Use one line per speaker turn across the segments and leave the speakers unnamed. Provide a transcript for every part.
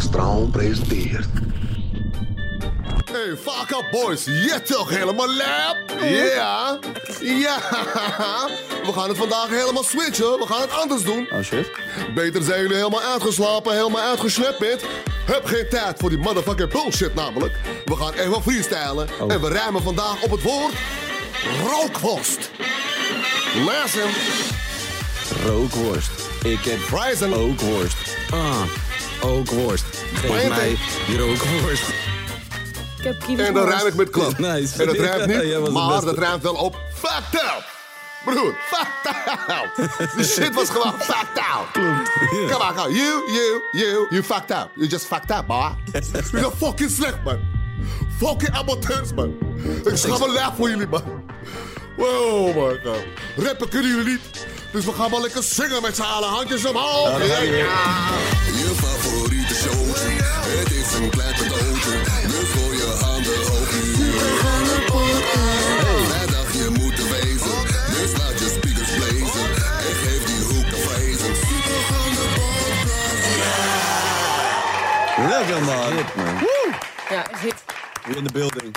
Straum presenteert.
Hey, Vaka Boys, je toch helemaal lab?
Hm?
Ja, ja. We gaan het vandaag helemaal switchen. We gaan het anders doen.
Oh shit.
Beter zijn jullie helemaal uitgeslapen, helemaal uitgesnepperd. Heb geen tijd voor die motherfucking bullshit namelijk. We gaan even freestylen.
Oh.
En we rijmen vandaag op het woord rookworst. Lessen,
Rookworst. Ik heb
Ryzen.
ook worst. Ah, ook worst. Geef
Poënte.
mij die rookworst.
Ik heb kiwi.
En dan ruim ik met klap.
Nice.
En dat ruimt niet,
Ja, jij was de
maar
beste.
dat ruimt wel op fucked up. Broer, fucked up. Die shit was gewoon fucked up. Come on, come on. You, you, you, you fucked up. You just fucked up, boy. Je bent fucking slecht, man. Fucking amateurs, man. Ik schap een lijf voor jullie, man. Wow, my god. Rappen kunnen jullie niet. Dus we gaan maar lekker zingen met z'n allen. Handjes omhoog. Ja, ja.
Je favoriete showtje, het is een klein cadeautje. Dus gooi je handen hoog nu. We gaan een podcast. Wij dacht je moet er wezen, dus laat je speakers blazen. En geef die hoek de vrezen. We gaan de
Lekker man. man.
Ja, is dit.
We in the building.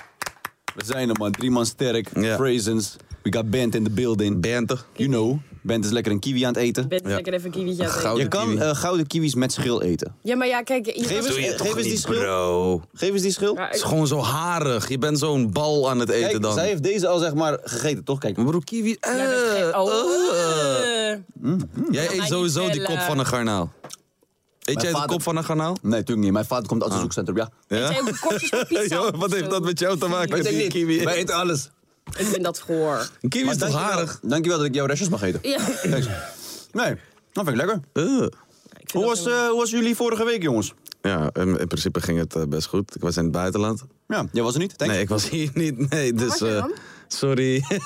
We zijn er man. Drie man sterk.
Ja.
Frazens. We got Bent in the building.
Bente.
You know. Bent is lekker een kiwi aan het eten.
Ben lekker even een kiwietje aan het
Gouden
Je
eten.
kan
kiwi.
eh, gouden kiwis met schil eten.
Ja, maar ja, kijk. je-
Geef eens,
Doe je
geef
toch
eens die
niet,
schil.
bro.
Geef eens die schil.
Ja,
Het is
ik-
gewoon zo harig. Je bent zo'n bal aan het eten
Kijk,
dan.
zij heeft deze al zeg maar gegeten, toch? Kijk.
Maar Bro, kiwi. eh,
Jij bent gek.
eh.
Oh. eh.
Jij
mij
eet
niet
sowieso die
bellen.
kop van een garnaal. Eet jij de
vader-
kop van een garnaal?
Nee, natuurlijk niet. Mijn vader komt uit
Ah.
het zoekcentrum, ja.
Zijn
Ja?
ook de kopjes van pizza
Ja,
of
wat heeft
zo?
dat met jou te maken? met
Ik denk
die
niet.
kiwi?
Wij eten alles.
Ik vind dat goor.
Een kiwi is
Maar
toch
dankjewel-
harig?
Dankjewel dat ik jouw restjes mag eten.
Ja.
Nee, dat vind ik lekker.
Eh.
Hoe was, eh, hoe was jullie vorige week, jongens?
Ja, in in principe ging het eh, best goed. Ik was in het buitenland.
Ja, jij was er niet, denk
Nee,
ik.
ik was hier niet. Nee, dus.
was je
eh,
dan?
sorry.
Hij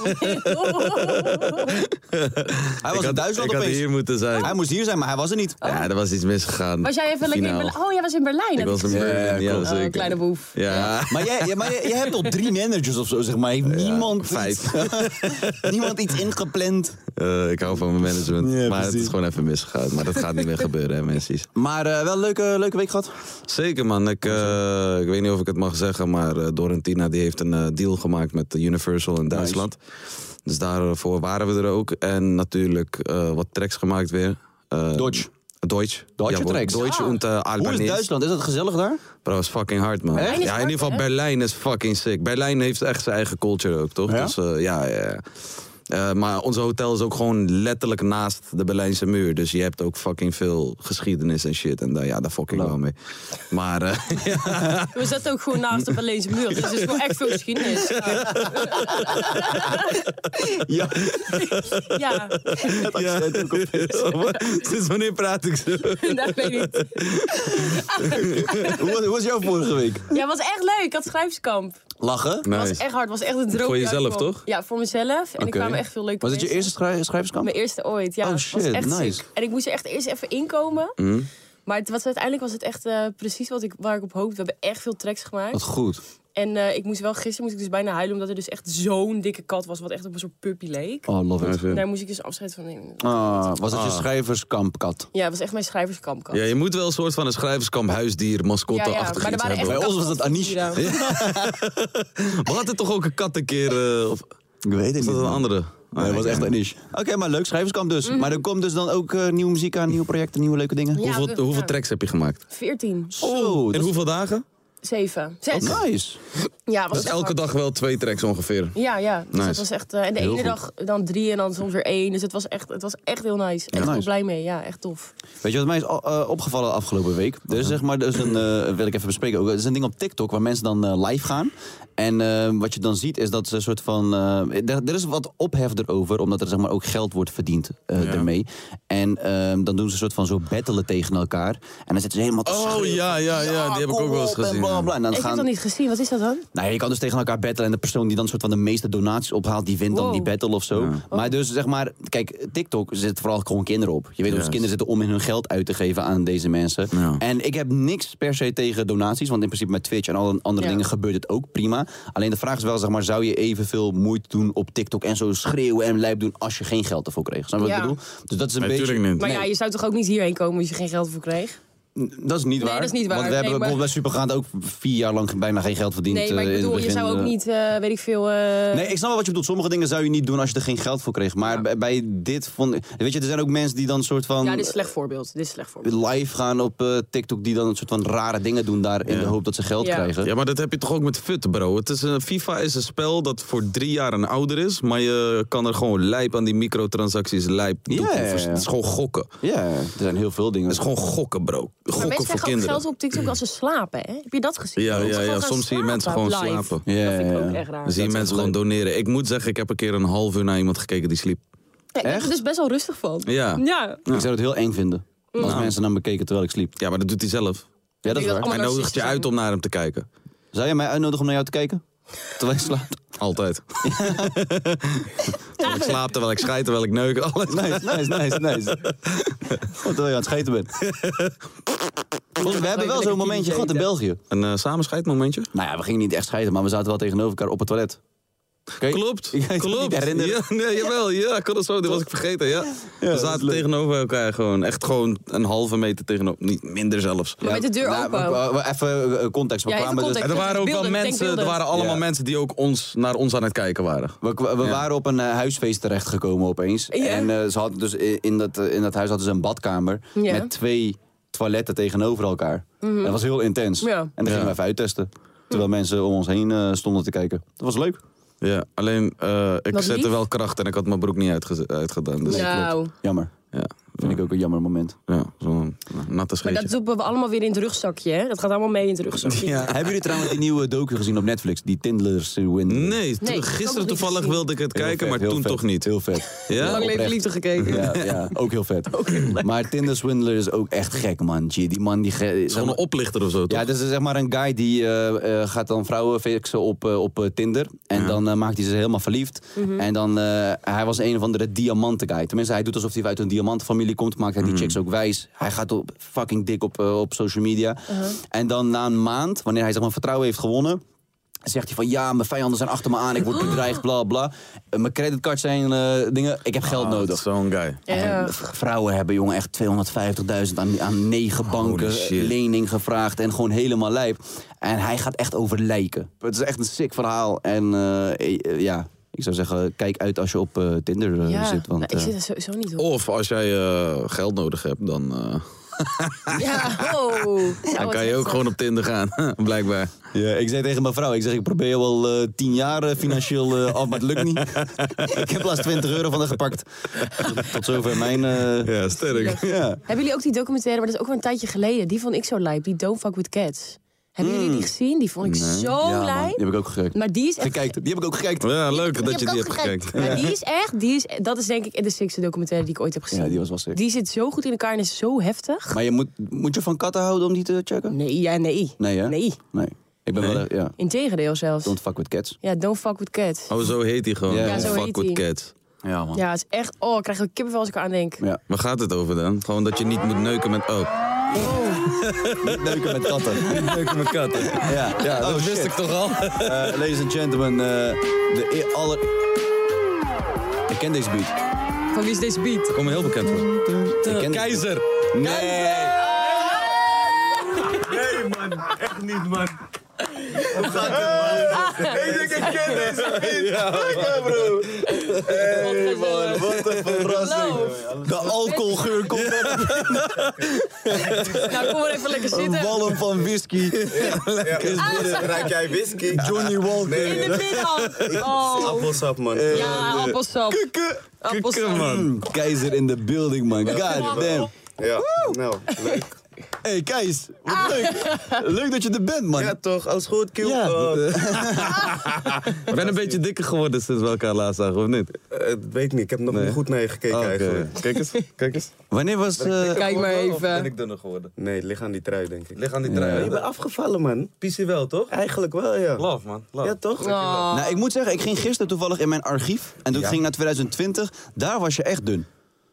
was
ik
in
had,
Duitsland
ik had
opeens.
hier Oh. moeten zijn.
Hij moest hier zijn, maar hij was er niet.
Ja, er was iets misgegaan.
Oh. Was jij even lekker in
Finaal.
Berlijn? Oh, jij was in Berlijn.
Ik
heb
was in
gezien.
Berlijn, ja,
Oh,
zeker.
kleine boef.
Ja.
Maar jij, jij- maar jij, jij hebt al drie managers of zo, zeg maar. Heeft niemand,
vijf.
Iets, niemand iets ingepland.
Eh, ik hou van mijn management.
Ja,
maar het
precies.
is gewoon even misgegaan. Maar dat gaat niet meer gebeuren, hè, mensen.
Maar eh, wel een leuke, leuke week gehad.
Zeker, man. Ik, eh, ik weet niet of ik het mag zeggen, maar eh, Dorentina die heeft een eh, deal gemaakt met Universal in Duitsland. Dus daarvoor waren we er ook. En natuurlijk eh, wat tracks gemaakt weer. Eh,
Deutsch.
Deutsch.
Deutsche
Jawohl,
tracks.
Deutsch
Ah.
en eh,
Hoe is
Albanese.
Duitsland? Is dat gezellig daar?
Bro, is fucking hard, man.
Echt?
Ja, in ieder geval
Hè?
Berlijn is fucking sick. Berlijn heeft echt zijn eigen culture ook, toch?
Ja?
Dus eh, ja, ja. ja. Eh, maar ons hotel is ook gewoon letterlijk naast de Berlijnse muur. Dus je hebt ook fucking veel geschiedenis en shit. En daar- ja, daar fuck ik wel mee. Maar eh,
We zaten ook gewoon naast de Berlijnse muur. Dus het is gewoon echt veel geschiedenis. Ja.
Ja.
Ja,
ja. Sinds wanneer praat ik zo?
dat weet ik niet.
Hoe was, hoe was jouw vorige week?
Ja, was echt leuk. Ik had schrijfskamp.
Lachen?
Het was
Nice.
echt hard. Het was echt een droom.
Voor
die
jezelf,
uitkwam.
toch?
Ja, voor mezelf. En ik
Oké.
er kwamen echt veel leuke
Was het je
mensen.
eerste schrij- schrijverskamp?
Mijn eerste ooit, ja.
Oh,
Het was
shit,
echt
nice.
ziek. En ik moest er echt eerst even inkomen.
Mm.
Maar het was, uiteindelijk was het echt eh, precies wat ik, waar ik op hoopte. We hebben echt veel tracks gemaakt.
Wat goed.
En eh, ik moest wel, gisteren moest ik dus bijna huilen, omdat er dus echt zo'n dikke kat was, wat echt op een soort puppy leek.
Oh, love it.
Daar moest ik dus afscheid van nemen.
Ah, was het je schrijverskampkat?
Ja, het was echt mijn schrijverskampkat.
Ja, je moet wel een soort van een schrijverskamp huisdier, mascotte achtig
maar er
iets
waren
hebben.
echt
Bij ons was dat
kattenvast-
Anish.
Ja.
We hadden toch ook een kat een keer... eh, of
Ik weet het
is dat een andere? Ah,
Nee, dat was echt een niche. Oké, maar leuk, schrijverskamp dus. Maar er komt dus dan ook eh, nieuwe muziek aan, nieuwe projecten, nieuwe leuke dingen.
Ja,
Hoeveel,
we-
hoeveel
ja.
tracks Oh. heb je gemaakt?
14,
Zo,
In
dat
hoeveel dagen?
zeven, zes.
is nice.
Dat is
Ja, was echt
Dus elke
hard.
dag wel twee tracks ongeveer.
Ja, ja. Dus
Nice.
dat was echt, eh, en de
Heel
ene
goed.
dag dan drie en dan soms weer één. Dus het was echt, het was echt heel nice. Echt
nice.
heel blij mee. Ja, echt tof.
Weet je wat mij is o- eh, opgevallen afgelopen week? Er is zeg maar, dus een, eh, wil ik even bespreken, ook, er is een ding op TikTok waar mensen dan eh, live gaan. En eh, wat je dan ziet is dat ze een soort van, eh, er, er is wat ophef erover, omdat er zeg maar ook geld wordt verdiend eh ermee. En ehm, dan doen ze een soort van zo battelen tegen elkaar. En dan zitten ze helemaal te
Oh
schreeuwen.
ja, ja, ja, die heb ik
kom
ook wel eens
op en
gezien.
bla, bla. En dan
Ik heb
gaan,
dat niet gezien. Wat is dat dan?
Nou, ja, je kan dus tegen elkaar battelen en de persoon die dan soort van de meeste donaties ophaalt, die wint dan
Wow.
die battle of zo. Maar dus zeg maar, kijk, TikTok zit vooral gewoon kinderen op. Je weet ons
Juist.
kinderen zitten om in hun geld uit te geven aan deze mensen.
Ja.
En ik heb niks per se tegen donaties, want in principe met Twitch en alle andere
Ja.
dingen gebeurt het ook prima. Alleen de vraag is wel, zeg maar, zou je evenveel moeite doen op TikTok en zo schreeuwen en lijp doen als je geen geld ervoor kreeg? Snap je wat
Ja.
ik bedoel? Dus dat is een
Nee,
beetje.
tuurlijk niet.
Maar
Nee.
ja, je zou toch ook niet hierheen komen als je geen geld voor kreeg?
Dat is niet
Nee,
waar.
dat is niet waar.
Want we
Nee,
hebben
maar-
bijvoorbeeld bij Supergaand ook vier jaar lang bijna geen geld verdiend.
Nee, maar
eh,
ik
in het
bedoel, je
begin,
zou ook
eh.
niet, eh, weet ik veel... eh,
Nee, ik snap wel wat je bedoelt. Sommige dingen zou je niet doen als je er geen geld voor kreeg. Maar bij, bij dit vond ik- Weet je, er zijn ook mensen die dan soort
ja,
van...
dit is een slecht voorbeeld. Dit is een slecht voorbeeld.
live gaan op eh, TikTok die dan een soort van rare dingen doen daar in de hoop dat ze geld
Ja.
krijgen.
Ja, maar dat heb je toch ook met FUT, bro. Het is een, FIFA is een spel dat voor drie jaar en ouder is. Maar je kan er gewoon lijp aan die microtransacties lijp toevoegen.
ja, ja.
Het is gewoon gokken. Het
Ja, er zijn heel veel dingen.
is gewoon gokken, bro.
Maar
Gokken
mensen
voor
krijgen ook
kinderen.
geld op TikTok als ze slapen, hè? Heb je dat gezien?
Ja,
Dat ze
ja,
gewoon
ja.
gaan
Soms zie je
slapen
mensen gewoon
live.
slapen.
Ja,
Dat vind ik
ja,
ook
ja.
echt raar.
Dan zie je
Dat
mensen
is echt
gewoon doneren. Ik moet zeggen, ik heb een keer een half uur naar iemand gekeken die sliep.
Ja, ik word er
Echt?
dus best wel rustig van.
Ja.
Ja.
Ik zou het heel eng vinden. Als mensen naar me keken terwijl ik sliep.
Ja, maar dat doet hij zelf.
Ja, dat
Ik
is
denk dat
waar.
Hij nodigt je
narcisten
uit om
zijn.
naar hem te kijken.
Zou jij mij uitnodigen om naar jou te kijken? Terwijl je slaapt?
Altijd. Terwijl ik slaap, terwijl ik schijt, terwijl ik neuk. Alles.
Nice, nice, nice, nice. Gewoon terwijl je aan het scheten bent. We hebben wel zo'n momentje gehad in België.
Een eh samenscheidmomentje?
Nou ja, we gingen niet echt scheiden, maar we zaten wel tegenover elkaar op het toilet. Oké?
Klopt.
Ik weet het
klopt.
niet herinneren.
Ja, nee, jawel. Ja, ik kon het zo. Dit was ik vergeten. Ja. We zaten tegenover elkaar gewoon. Echt gewoon een halve meter tegenover. Niet minder zelfs.
Maar met de deur
Nou,
open.
we- we- Even eh, context. We
Ja, even
kwamen dus
context.
En er waren ook wel
Beelden,
mensen. Er
denkbeelden.
waren allemaal
Ja.
mensen die ook ons, naar ons aan het kijken waren.
We, kwa- we waren op een eh, huisfeest terechtgekomen opeens.
Ja.
En eh, ze hadden dus i- in, dat, eh, in dat huis hadden ze een badkamer
Ja. Mhm.
met twee toiletten tegenover elkaar. Dat was heel intens.
Ja. Mhm.
En dan gingen we even uittesten. Terwijl mensen om ons heen eh, stonden te kijken. Dat was leuk.
Ja, alleen eh, ik
Wat
zette
lief.
wel kracht en ik had mijn broek niet uitgeze- uitgedaan. Dus klopt.
Nou,
Jammer.
Ja,
Vind ik ook een jammer moment.
ja zo'n natte
maar dat
scheetje.
doen we allemaal weer in het rugzakje, hè? Dat gaat allemaal mee in het rugzakje.
Hebben jullie trouwens die nieuwe docu gezien op Netflix? Die Tindler's Window?
Nee, to-
Nee, ik heb ook nog
gisteren
niet
toevallig
gezien.
wilde ik het
Heel
kijken,
vet,
maar
heel
toen
vet.
toch niet.
Heel vet.
Ja?
Lang leven
oprecht.
liefde gekeken.
Ja, ja, ook heel vet. maar Tinder Swindler is ook echt gek, man. Gee, Die man die... ge-
Het is gewoon een oplichter of zo, toch?
Ja, dat is zeg maar een guy die eh, eh, gaat dan vrouwen fixen op, eh, op eh, Tinder. En dan eh, maakt hij ze helemaal verliefd. En dan, eh, hij was een of andere diamanten guy. Tenminste, hij doet alsof hij uit een diamantenfamilie komt. Maakt
Mhm.
hij die chicks ook wijs. Hij gaat op, fucking dik op, eh, op social media. En dan na een maand, wanneer hij zeg maar vertrouwen heeft gewonnen... Zegt hij van ja, mijn vijanden zijn achter me aan, ik word bedreigd, bla bla. Eh, Mijn creditcard zijn eh, dingen, ik heb geld
Ah,
nodig.
Zo'n guy.
Ja.
En v- Ehm, vrouwen hebben jongen echt 250.000 aan, aan negen banken
shit.
lening gevraagd en gewoon helemaal lijp. En hij gaat echt over lijken. Het is echt een sick verhaal. En eh, eh, eh, ja, ik zou zeggen, kijk uit als je op eh, Tinder eh,
Ja,
zit. Want,
nou, ik zit
eh,
er sowieso niet op.
Of als jij eh, geld nodig hebt, dan,
Oh,
eh,
Ja, oh.
dan kan je ook gewoon op Tinder gaan, blijkbaar.
ja, ik zei tegen mijn vrouw, ik zeg, ik probeer jou al eh, tien jaar eh, financieel eh, af, maar het lukt niet. ik heb laatst 20 euro van haar gepakt. Tot, tot zover mijn... eh,
Ja, sterk.
ja.
Hebben jullie ook die documentaire, maar dat is ook wel een tijdje geleden. Die vond ik zo lijp, die Don't Fuck With Cats. Hebben jullie die gezien? Die vond ik zo
Mm. Ja, man,
lijp.
die heb ik ook gekeken.
Maar die is echt...
Gekeken, die heb ik ook gekeken.
Ja, leuk dat je
heb
die
ik
hebt
ook
gekeken.
Maar die is echt, die is, dat is denk ik de sixte documentaire die ik ooit heb gezien.
Ja, die was wel sick.
Die zit zo goed in elkaar en is zo heftig.
Maar je moet, moet je van katten houden om die te checken?
Nee, ja, nee.
Nee, hè?
Nee.
Nee. Ik ben wel, ja.
Integendeel zelfs.
Don't fuck with cats.
Ja, don't fuck with cats.
Oh, zo heet hij gewoon.
Ja,
Don't
zo
Fuck
heet
with
hij.
cats.
Ja, man.
Ja, het is echt... Oh, ik krijg ook kippenvel als ik aan denk.
Ja.
Waar gaat het over dan? Gewoon dat je niet moet neuken met... Oh,
Neuken met katten.
neuken met katten.
Ja, ja
dat wist ik toch al.
ladies and gentlemen, eh, de e- aller... Ik ken deze beat.
Van wie is deze beat?
Kom me heel bekend voor.
Ik ken
Keizer.
Nee.
Nee, man. Echt niet, man.
Hey, man.
Wat een verrassing. De alcoholgeur komt uit
Nou, kom maar even lekker
een
zitten. Ah,
walm van whisky.
Raak jij whisky?
Johnny Walker.
In de middag. Oh.
Appelsap, man.
Ja, appelsap. Appelsap.
Mm, Keizer in the building, man. God damn.
Ja, nou, leuk.
Hey, Keis. Wat leuk. Leuk dat je er bent, man.
Ja, toch? Als goed, Q.
Ja.
Eh,
Oh. Ik ben een beetje dikker geworden sinds we elkaar laatst zagen, of niet?
eh, weet niet, ik heb nog niet goed naar je gekeken
Oké.
eigenlijk.
Kijk eens, kijk eens.
Wanneer was... eh,
Kijk maar
Of Ben
even. Oh.
ik dunner geworden?
Nee, het ligt aan die trui, denk ik.
Lig aan die
Je
draai.
bent afgevallen, man.
PC wel, toch?
Eigenlijk wel, ja.
Love, man. Love.
Ja, toch?
Oh.
Nou, ik moet zeggen, ik ging gisteren toevallig in mijn archief. En
Ja.
toen ging ik naar 2020. Daar was je echt dun.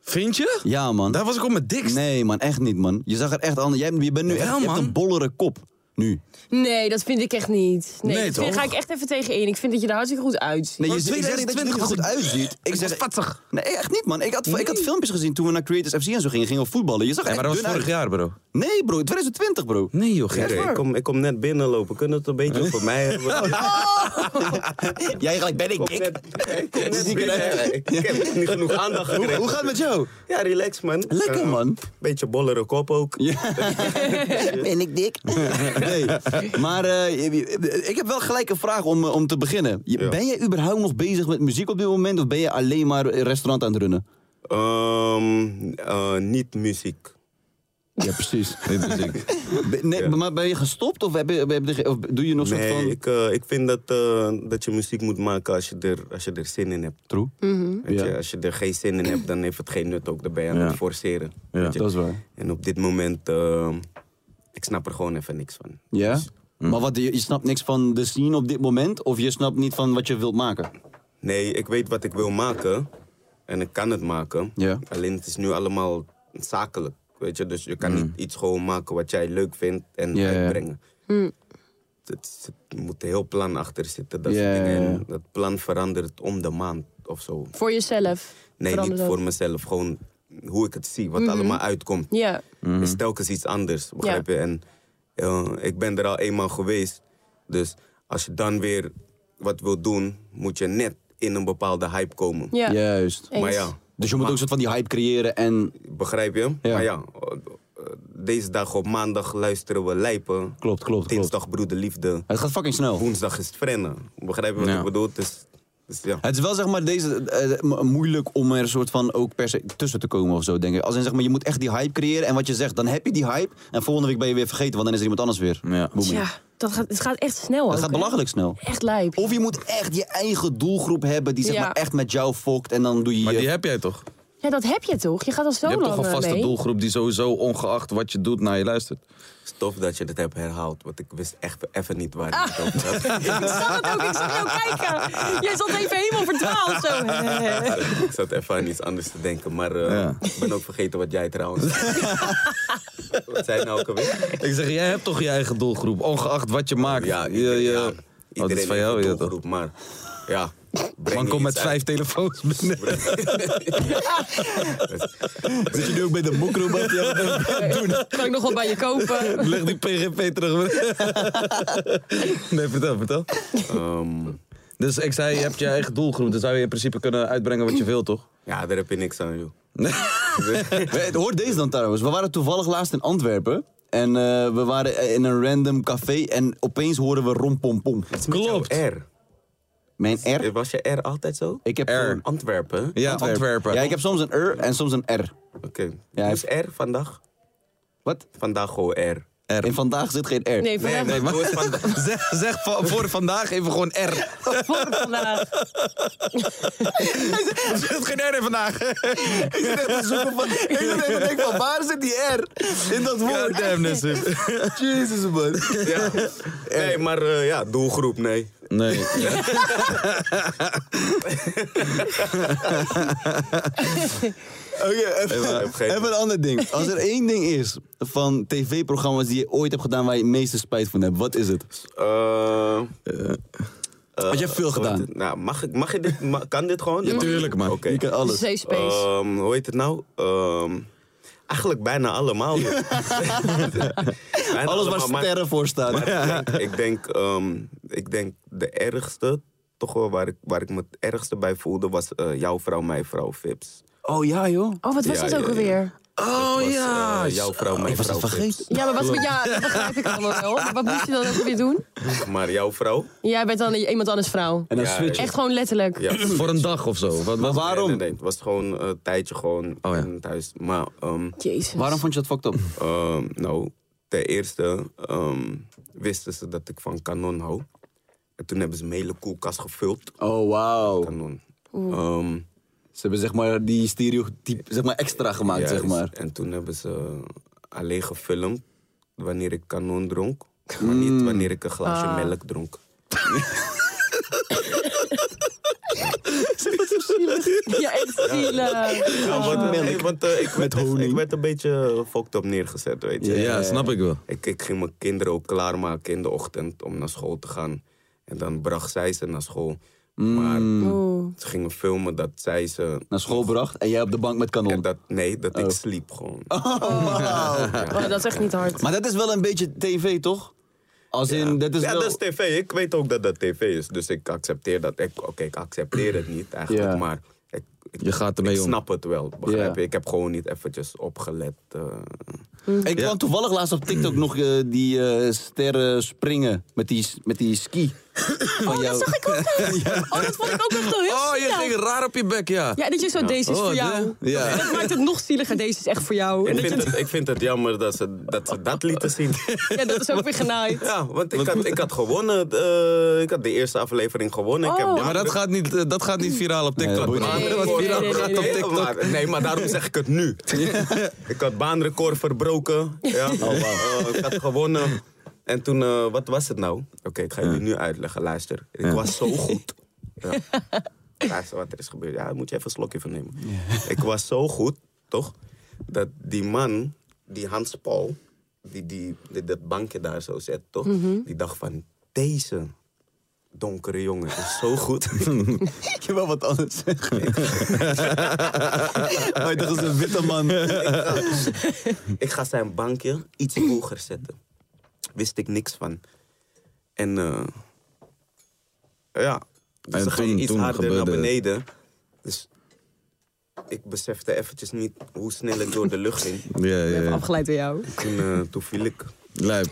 Vind je?
Ja, man.
Nou,
Daar was ik op mijn dikst.
Nee, man, echt niet, man. Je zag er echt anders. Jij, je bent nu
Ja,
echt je hebt
man.
een bollere kop. Nu.
Nee, dat vind ik echt niet. Nee,
Nee,
dat vind-
toch?
ga ik echt even tegen in. Ik vind dat je er hartstikke goed uitziet.
Nee, je
Want
zegt ik zeg niet dat je er
2021
goed uitziet. Ik zeg fatig. Nee, echt niet, man. Ik had, ik had filmpjes gezien toen we naar Creators FC en zo gingen, gingen we voetballen. Je zag
Ja,
echt
maar dat was
dun
vorig
uit.
jaar, bro.
Nee, bro, 2020, bro.
Nee, joh, gek.
Oké, ik, kom, ik kom net binnenlopen. Kunnen we het een beetje over mij hebben?
Jij gelijk ben ik
Kom
dik.
net, Oh, ik kom net binnen. Ik heb niet genoeg aandacht
Hoe,
gekregen.
hoe gaat het met jou?
Ja, relax man.
Lekker,
Eh,
man.
Beetje bollere kop ook.
Ben ik dik? Nee, maar eh, ik heb wel gelijk een vraag om, eh, om te beginnen. Je- Ben jij überhaupt nog bezig met muziek op dit moment? Of ben je alleen maar een restaurant aan het runnen?
Ehm, eh, niet muziek.
Ja, precies. Ben- nee, Maar ben je gestopt of, heb je, heb je- of doe je nog soort
Nee,
van...
ik, eh, ik vind dat, eh, dat je muziek moet maken als je er, als je er zin in hebt.
True.
Weet
Ja.
je, als je er geen zin in hebt, dan heeft het geen nut ook. Dan ben je aan het forceren. weet je.
dat is waar.
En op dit moment, eh, ik snap er gewoon even niks van.
Ja? Dus- Mm. Maar wat, je, je snapt niks van de scene op dit moment? Of je snapt niet van wat je wilt maken?
Nee, ik weet wat ik wil maken. En ik kan het maken.
Ja.
Alleen het is nu allemaal zakelijk. Weet je, dus je kan niet iets gewoon maken wat jij leuk vindt en
Mm. Ja, ja.
uitbrengen. Het, is- het moet een heel plan achter zitten. Dat, soort
Ja, ja,
dingen. En
ja.
dat plan verandert om de maand of zo.
Voor jezelf.
Nee,
Verander dat.
niet voor mezelf. Gewoon hoe ik het zie, wat allemaal uitkomt.
Ja.
is telkens iets anders, begrijp
Ja.
je? En eh, ik ben er al eenmaal geweest. Dus als je dan weer wat wil doen, moet je net in een bepaalde hype komen.
ja.
Juist.
Eens.
Maar ja,
Dus je moet ook soort van die hype creëren en...
begrijp je?
Ja.
Maar ja, eh, eh, deze dag op maandag luisteren we lijpen.
Klopt, klopt, klopt.
Dinsdag broederliefde.
Het gaat fucking snel.
Woensdag is het frennen. Begrijp je wat
Ja.
ik bedoel? Dus, dus ja.
Het is wel zeg maar deze, eh, mo- moeilijk om er soort van ook per se tussen te komen of zo, denk ik. Als in zeg maar, je moet echt die hype creëren en wat je zegt, dan heb je die hype. En volgende week ben je weer vergeten, want dan is er iemand anders weer.
Ja.
Boem.
Tja, dat gaat, het gaat echt snel ook,
Het gaat
hè?
belachelijk snel.
Echt lijp.
Of je moet echt je eigen doelgroep hebben die zeg
Ja.
maar echt met jou fokt en dan doe je...
Maar
je-
die heb jij toch?
Ja, dat heb je toch? Je gaat al zo
Je hebt
lang
toch een
eh,
vaste
mee.
doelgroep die sowieso ongeacht wat je doet naar je luistert.
Stof dat je dat hebt herhaald, want ik wist echt even niet waar ik het over had.
Ik zag het ook, ik zag jou kijken. Jij zat even helemaal verdwaald zo.
Ik zat even aan iets anders te denken, maar eh,
Ja.
ik ben ook vergeten wat jij trouwens. wat zei je nou ook alweer?
Ik zeg, jij hebt toch je eigen doelgroep, ongeacht wat je maakt.
Ja,
Je-
iedereen,
je-
ja.
Oh, dat
Iedereen
is van
heeft
jou,
een
ja toch?
doelgroep, maar ja. breng
Man
je
komt met
iets
vijf
uit.
telefoons binnen.
Zit je nu ook bij de mokro wat je aan het doen?
Kan ik nog wat bij je kopen?
Leg die PGP terug. nee, vertel, vertel.
Ehm,
Dus ik zei, je hebt je eigen doelgroep. Dan zou je in principe kunnen uitbrengen wat je wil, toch?
ja, daar heb je niks aan, joh.
Hey, Eh, Hoor deze dan trouwens. We waren toevallig laatst in Antwerpen. En eh, we waren eh, in een random café en opeens horen we rompompom.
Klopt.
Jouw R. Eh,
Mijn R.
Was je R altijd zo?
Ik heb
R.
gewoon-
Antwerpen.
Ja, Antwerpen.
Ja, ik heb soms een R en soms een R.
Oké.
Ja,
dus R vandaag?
Wat?
Vandaag gewoon R.
R.
En vandaag zit geen R.
Nee, voor,
Nee, nee, maar vandaag.
Zeg, zeg va- voor vandaag even gewoon R.
voor vandaag.
Er zit geen R in vandaag.
Ik zit even te denken van, waar zit die R in dat woord?
Damn, Nassim.
Jezus man.
Ja. Nee, maar eh, ja, doelgroep, nee.
Nee.
Oké, even,
heb geen-
even een ander ding. Als er één ding is van tv-programma's die je ooit hebt gedaan waar je het meeste spijt van hebt, wat is het?
Eh,
Want je hebt veel gedaan.
wat- nou, mag, ik, mag je dit? ma- kan dit gewoon? Ja,
tuurlijk, man.
Oké.
Je kan alles.
Zeespace.
Ehm, hoe heet het nou? Ehm, eigenlijk bijna allemaal. joh. Bijna
Alles waar
allemaal, maar-
sterren voor staan.
maar ik denk, ik, denk, ehm, ik denk de ergste, toch wel waar ik, waar ik me het ergste bij voelde, was eh, jouw vrouw, mijn vrouw, Vips.
Oh ja joh.
Oh, wat was
Ja,
dat ook
ja, ja.
alweer?
Oh ja! jouw vrouw, mijn
Oh, Ik was
vrouw.
dat vergeten.
Vips.
Ja, maar wat, ja, dat begrijp ik allemaal wel. Maar wat moest je dan ook weer doen?
Maar jouw vrouw?
Jij bent dan iemand anders vrouw.
En dan
Ja,
switch.
Echt gewoon letterlijk.
Ja.
Voor een dag of zo. Wat,
Maar
wat?
Nee,
waarom? Oh,
nee, nee, Het was gewoon eh, een tijdje gewoon
ja.
in het huis. Maar ehm,
Jezus.
Waarom vond je dat fucked up?
Ehm, nou, ten eerste ehm, wisten ze dat ik van kanon hou. En toen hebben ze mijn hele koelkast gevuld.
Oh wow.
Kanon. Ehm,
Ze hebben zeg maar die stereotype zeg maar extra gemaakt zeg
juist.
maar.
dus- En toen hebben ze alleen gefilmd wanneer ik kanon dronk. Maar niet wanneer ik een glaasje melk dronk.
Ja, echt zielig.
Ja, want,
Oh.
nee, want, eh, ik, werd echt- ik werd een beetje fucked op neergezet, weet je.
Ja,
Eh,
snap ik wel.
Ik, ik ging mijn kinderen ook klaarmaken in de ochtend om naar school te gaan. En dan bracht zij ze naar school. Maar
Oeh.
ze gingen filmen dat zij ze...
Naar school bracht en jij op de bank met
en
kanon.
Dat, nee, dat ik sliep gewoon.
Oh, dat is echt niet hard.
Maar dat is wel een beetje tv, toch? Als in, dat is
ja,
nou
wel...
dat is tv. Ik weet ook dat dat tv is. Dus ik accepteer dat. Ik- Oké, ik accepteer het niet eigenlijk.
Ja.
Maar ik, ik,
Je gaat ermee
ik
om.
snap het wel, begrijp
Ja.
je? Ik heb gewoon niet eventjes opgelet. eh.
Mm.
Ik kwam toevallig laatst op TikTok nog eh, die eh, sterren springen met die, met die ski. Van
Oh, dat zag ik ook nog. Oh, dat vond ik ook echt wel heel
Oh, je
zielig.
ging raar op je bek, ja.
Ja, dat je zo, deze is
Oh,
voor
de-
jou.
ja.
Dat maakt het nog zieliger, deze is echt voor jou. En
ik,
dat,
vind
je,
het, ik vind het jammer dat ze dat, ze dat lieten zien.
ja, dat is ook weer genaaid.
Ja, want ik had, ik had gewonnen. eh, ik had de eerste aflevering gewonnen. Ik heb
Oh.
Ja, maar dat gaat niet, eh, dat gaat niet viraal op
dat
TikTok.
boeit
bro.
niet. Nee,
Wat
nee,
viraal
nee,
gaat
nee,
op
nee.
Nee,
TikTok.
maar, nee, maar daarom zeg ik het nu. ik had baanrecord verbroken. Ja.
Oh,
Eh, ik had gewonnen. En toen, eh, wat was het nou? Oké, ik ga jullie nu uitleggen. Luister, ik was zo goed. Ja. Luister wat er is gebeurd. Ja, daar moet je even een slokje van nemen. Ik was zo goed, toch? Dat die man, die Hans Paul, die, die, die dat bankje daar zo zet, toch?
Mhm.
Die dacht van, deze donkere jongen is zo goed.
Ik wil wel wat anders zeggen. oh, ik dacht, dat is een witte man.
Ik ga zijn bankje iets hoger zetten. Wist ik niks van. En eh, ja, dus
En
dan ga je
toen-
iets
toen
harder
gebeurde
naar
het.
beneden. Dus ik besefte eventjes niet hoe snel ik door de lucht ging.
Ja,
Ik
ja,
heb
ja.
afgeleid door jou.
Toen, eh, toen viel ik.
Lijp.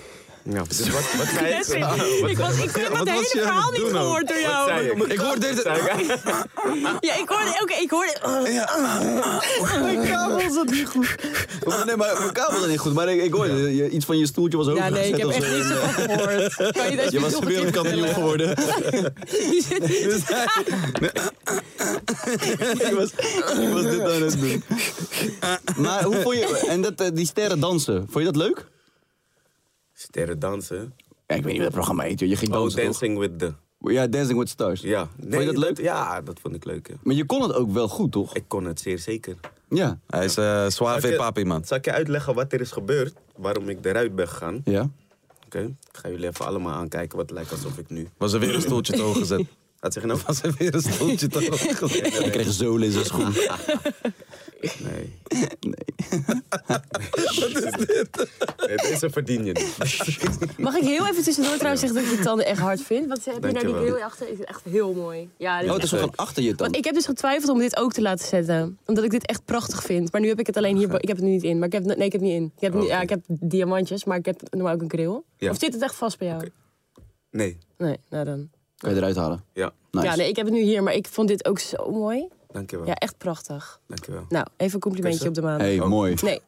Ja, dus wat, wat zei ik?
Blessing. Ik, was, ik heb het
was
hele
je aan
verhaal
het
niet
doen nou?
gehoord door
Wat zei
jou.
ik?
Ik hoor dit...
Zei ik-
Ja, ik hoorde... Oké, ik hoorde... Oh,
Mijn kabel zat niet goed. Nee, maar mijn kabel zat niet goed. Maar ik, ik hoorde, je- iets van je stoeltje was ook
Ja, nee, ik heb
of zo.
echt niks ervan gehoord. Kan je dat
eh, Je was wereldkampioen geworden. Dus ik, was, ik was dit aan het doen. Maar hoe vond je... En dat, eh, die sterren dansen, vond je dat leuk?
Sterren dansen.
Ja, ik weet niet wat dat programma heet. joh. Je ging
Oh,
dansen, toch?
Dancing with the...
Ja, Dancing with Stars.
Ja.
vond je dat leuk?
Ja, dat vond ik leuk. ja.
Maar je kon het ook wel goed, toch?
Ik kon het zeer zeker.
Ja.
Hij is eh
Zal
suave
ik je-
papi, man.
Zal ik je uitleggen wat er is gebeurd? Waarom ik eruit ben gegaan?
Ja.
Oké, ik ga jullie even allemaal aankijken wat het lijkt alsof ik nu...
Was er weer een stoeltje te hoog gezet.
Wat zeg je nou?
Was er weer een stoeltje te hoog gezet.
Hij kreeg zolen in zijn schoen.
Nee. Nee. wat is dit? Nee, deze verdien je niet.
Mag ik heel even tussendoor trouwens zeggen dat ik je tanden echt hard vind? Wat heb je nou die
Dankjewel.
bril achter? Ik vind het echt heel mooi. Ja, dit
Oh,
is
het is
echt-
zo van achter je
Want
tand.
ik heb dus getwijfeld om dit ook te laten zetten. Omdat ik dit echt prachtig vind. Maar nu heb ik het alleen hier. Ik heb het nu niet in. Maar ik heb, nee, ik heb het niet in. Ik heb,
Oh,
nu- ja, ik heb diamantjes, maar ik heb normaal ook een kril.
Ja.
Of zit het echt vast bij jou?
Nee,
Nee, nou dan.
Kan je eruit halen.
ja.
Nice.
Ja, nee, ik heb het nu hier, maar ik vond dit ook zo mooi.
Dankjewel.
Ja, echt prachtig.
Dankjewel.
Nou, even een complimentje
Kussen.
op de maan.
hey, Oh. mooi.
Nee,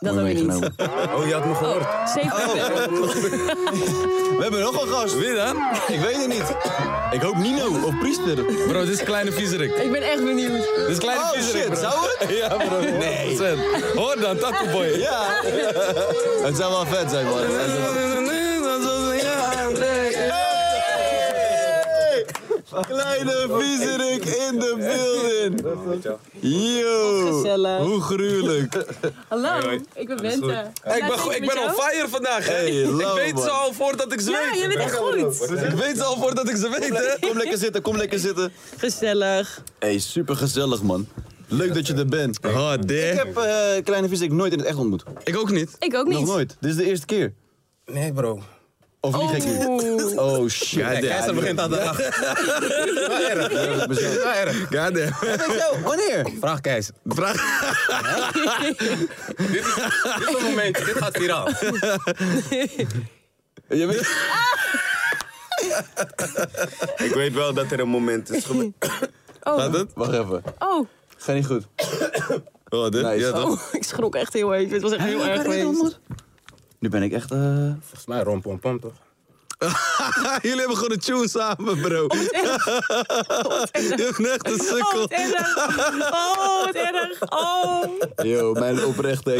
dat
Mooi
wil je niet.
meegenomen.
Oh, je had me gehoord.
Zeven
We hebben nog een gast.
Wie dan?
Ik weet het niet. Ik hoop Nino of Priester.
Bro, dit is kleine viezerik.
Ik ben echt benieuwd.
Dit is kleine
Oh
viezerik,
shit,
bro.
zou het?
Ja, bro. Nee. Hoor dan, Taco Boy.
Ja. Het zou wel vet zijn, man. Kleine viezerik in de building. Yo.
Gezellig.
Hoe gruwelijk.
Hallo, ik ben Bente.
Ik ben, go- ik ben on fire vandaag, hè? ik
lauw,
weet ze
man.
al voordat ik ze
Ja,
weet.
je bent echt goed.
Ik weet ze al voordat ik ze weet, hè?
Kom lekker zitten, kom lekker zitten.
Gezellig.
Hey, super gezellig, man. Leuk dat je er bent.
Oh,
Ik
damn.
heb eh, Kleine Viezerik nooit in het echt ontmoet.
Ik ook niet.
Ik ook
Nog
niet.
nooit. Dit is de eerste keer.
Nee, bro.
Of niet gek nu?
Oeh.
Oh shit.
Keizer begint aan de dag.
dat is mezelf.
God damn.
Zo, Wanneer?
Vraag Keizer. Vraag. dit, is, dit is een moment. Dit gaat viraal.
Je weet...
Ik weet wel dat er een moment is gebeurd.
Oh.
Wacht even.
oh.
Gaat niet goed.
Oh, dit?
Nice.
Ja, toch?
Oh, ik schrok echt heel even. Het was echt heel erg geweest.
Nu ben ik echt... eh
Volgens mij rompom pom toch?
Jullie hebben gewoon een tune samen, bro. Je hebt echt een
Oh,
sukkel.
wat erg. Oh, wat erg. Oh.
Yo, mijn oprechte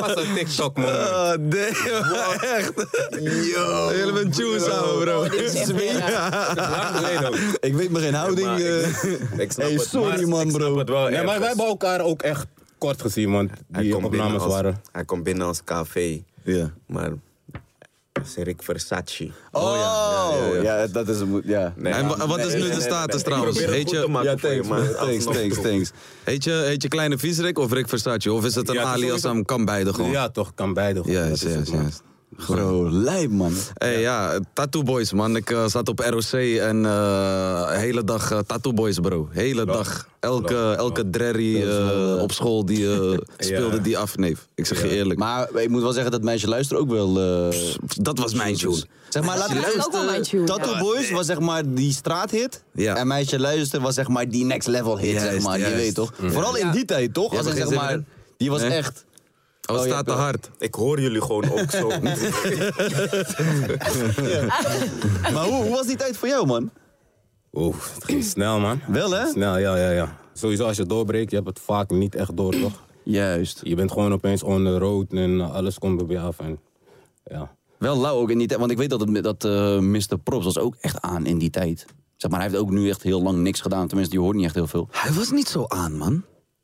Pas een TikTok, man.
Oh, damn, echt. Yo. Jullie hebben een tune samen, bro.
Oh, dit is echt heel raar.
Lang geleden ook.
Ik weet me geen houding.
Maar
eh.
ik, ik snap
hey,
het,
sorry,
maar
man,
ik snap
bro.
het wel
Nee, maar
ergens.
wij hebben elkaar ook echt kort gezien, want
Hij
die
komt binnen
opnames
als-
waren.
Hij komt binnen als KV.
Ja.
Maar dat is Rick Versace.
Oh, ja, dat is een moed. Ja.
Nee,
En wa-
nee,
wat is nu de
nee,
status
nee, nee.
trouwens?
Ik probeer het
Heet
goed
je-
te maken
Ja,
voor je,
thanks,
maar
man.
het
Thanks,
afstand-
thanks, thanks.
Heet je, heet je Kleine Viesrik of Rick Versace? Of is het een
Ja, het is
alias
sowieso-
aan kan beide gewoon?
Ja, toch, kan beide. gewoon,
Juist,
dat is het,
juist,
man.
juist.
Bro, lijp, man.
Hey, Eh, ja, Tattoo Boys, man. Ik eh, zat op ROC en eh hele dag eh, Tattoo Boys, bro. Hele dag. Elke, elke drerry eh, op school die eh, speelde die af, neef. Ik zeg je eerlijk. Maar
Maar ik moet wel zeggen dat meisje luistert ook wel. eh,
dat was mijn tune.
Dus Zeg maar, laat
Dat is ook wel mijn tune.
Tattoo Boys was zeg maar die straathit.
Ja.
En Meisje Luister was zeg maar die next level hit, zeg
Juist,
maar. Je
juist.
weet toch? Vooral in die tijd, toch? Als
hebt
in,
er
zeg
geen zin
Mm. maar,
in?
die was
Nee?
echt...
Oh,
Oh, je
staat
hebt
te
wel-
hard.
Ik hoor jullie gewoon ook zo.
Maar hoe, hoe was die tijd voor jou, man?
Oeh, het ging snel, man.
Wel, hè?
Snel, ja, ja, ja. Sowieso als je doorbreekt, je hebt het vaak niet echt door, toch?
Juist.
Je bent gewoon opeens on the road en eh, alles komt bij je af. En, ja.
Wel lauw ook in die tijd. Want ik weet dat, het, dat eh, Mr. Props was ook echt aan in die tijd. Zeg maar, hij heeft ook nu echt heel lang niks gedaan. Tenminste, die hoort niet echt heel veel.
Hij was niet zo aan, man.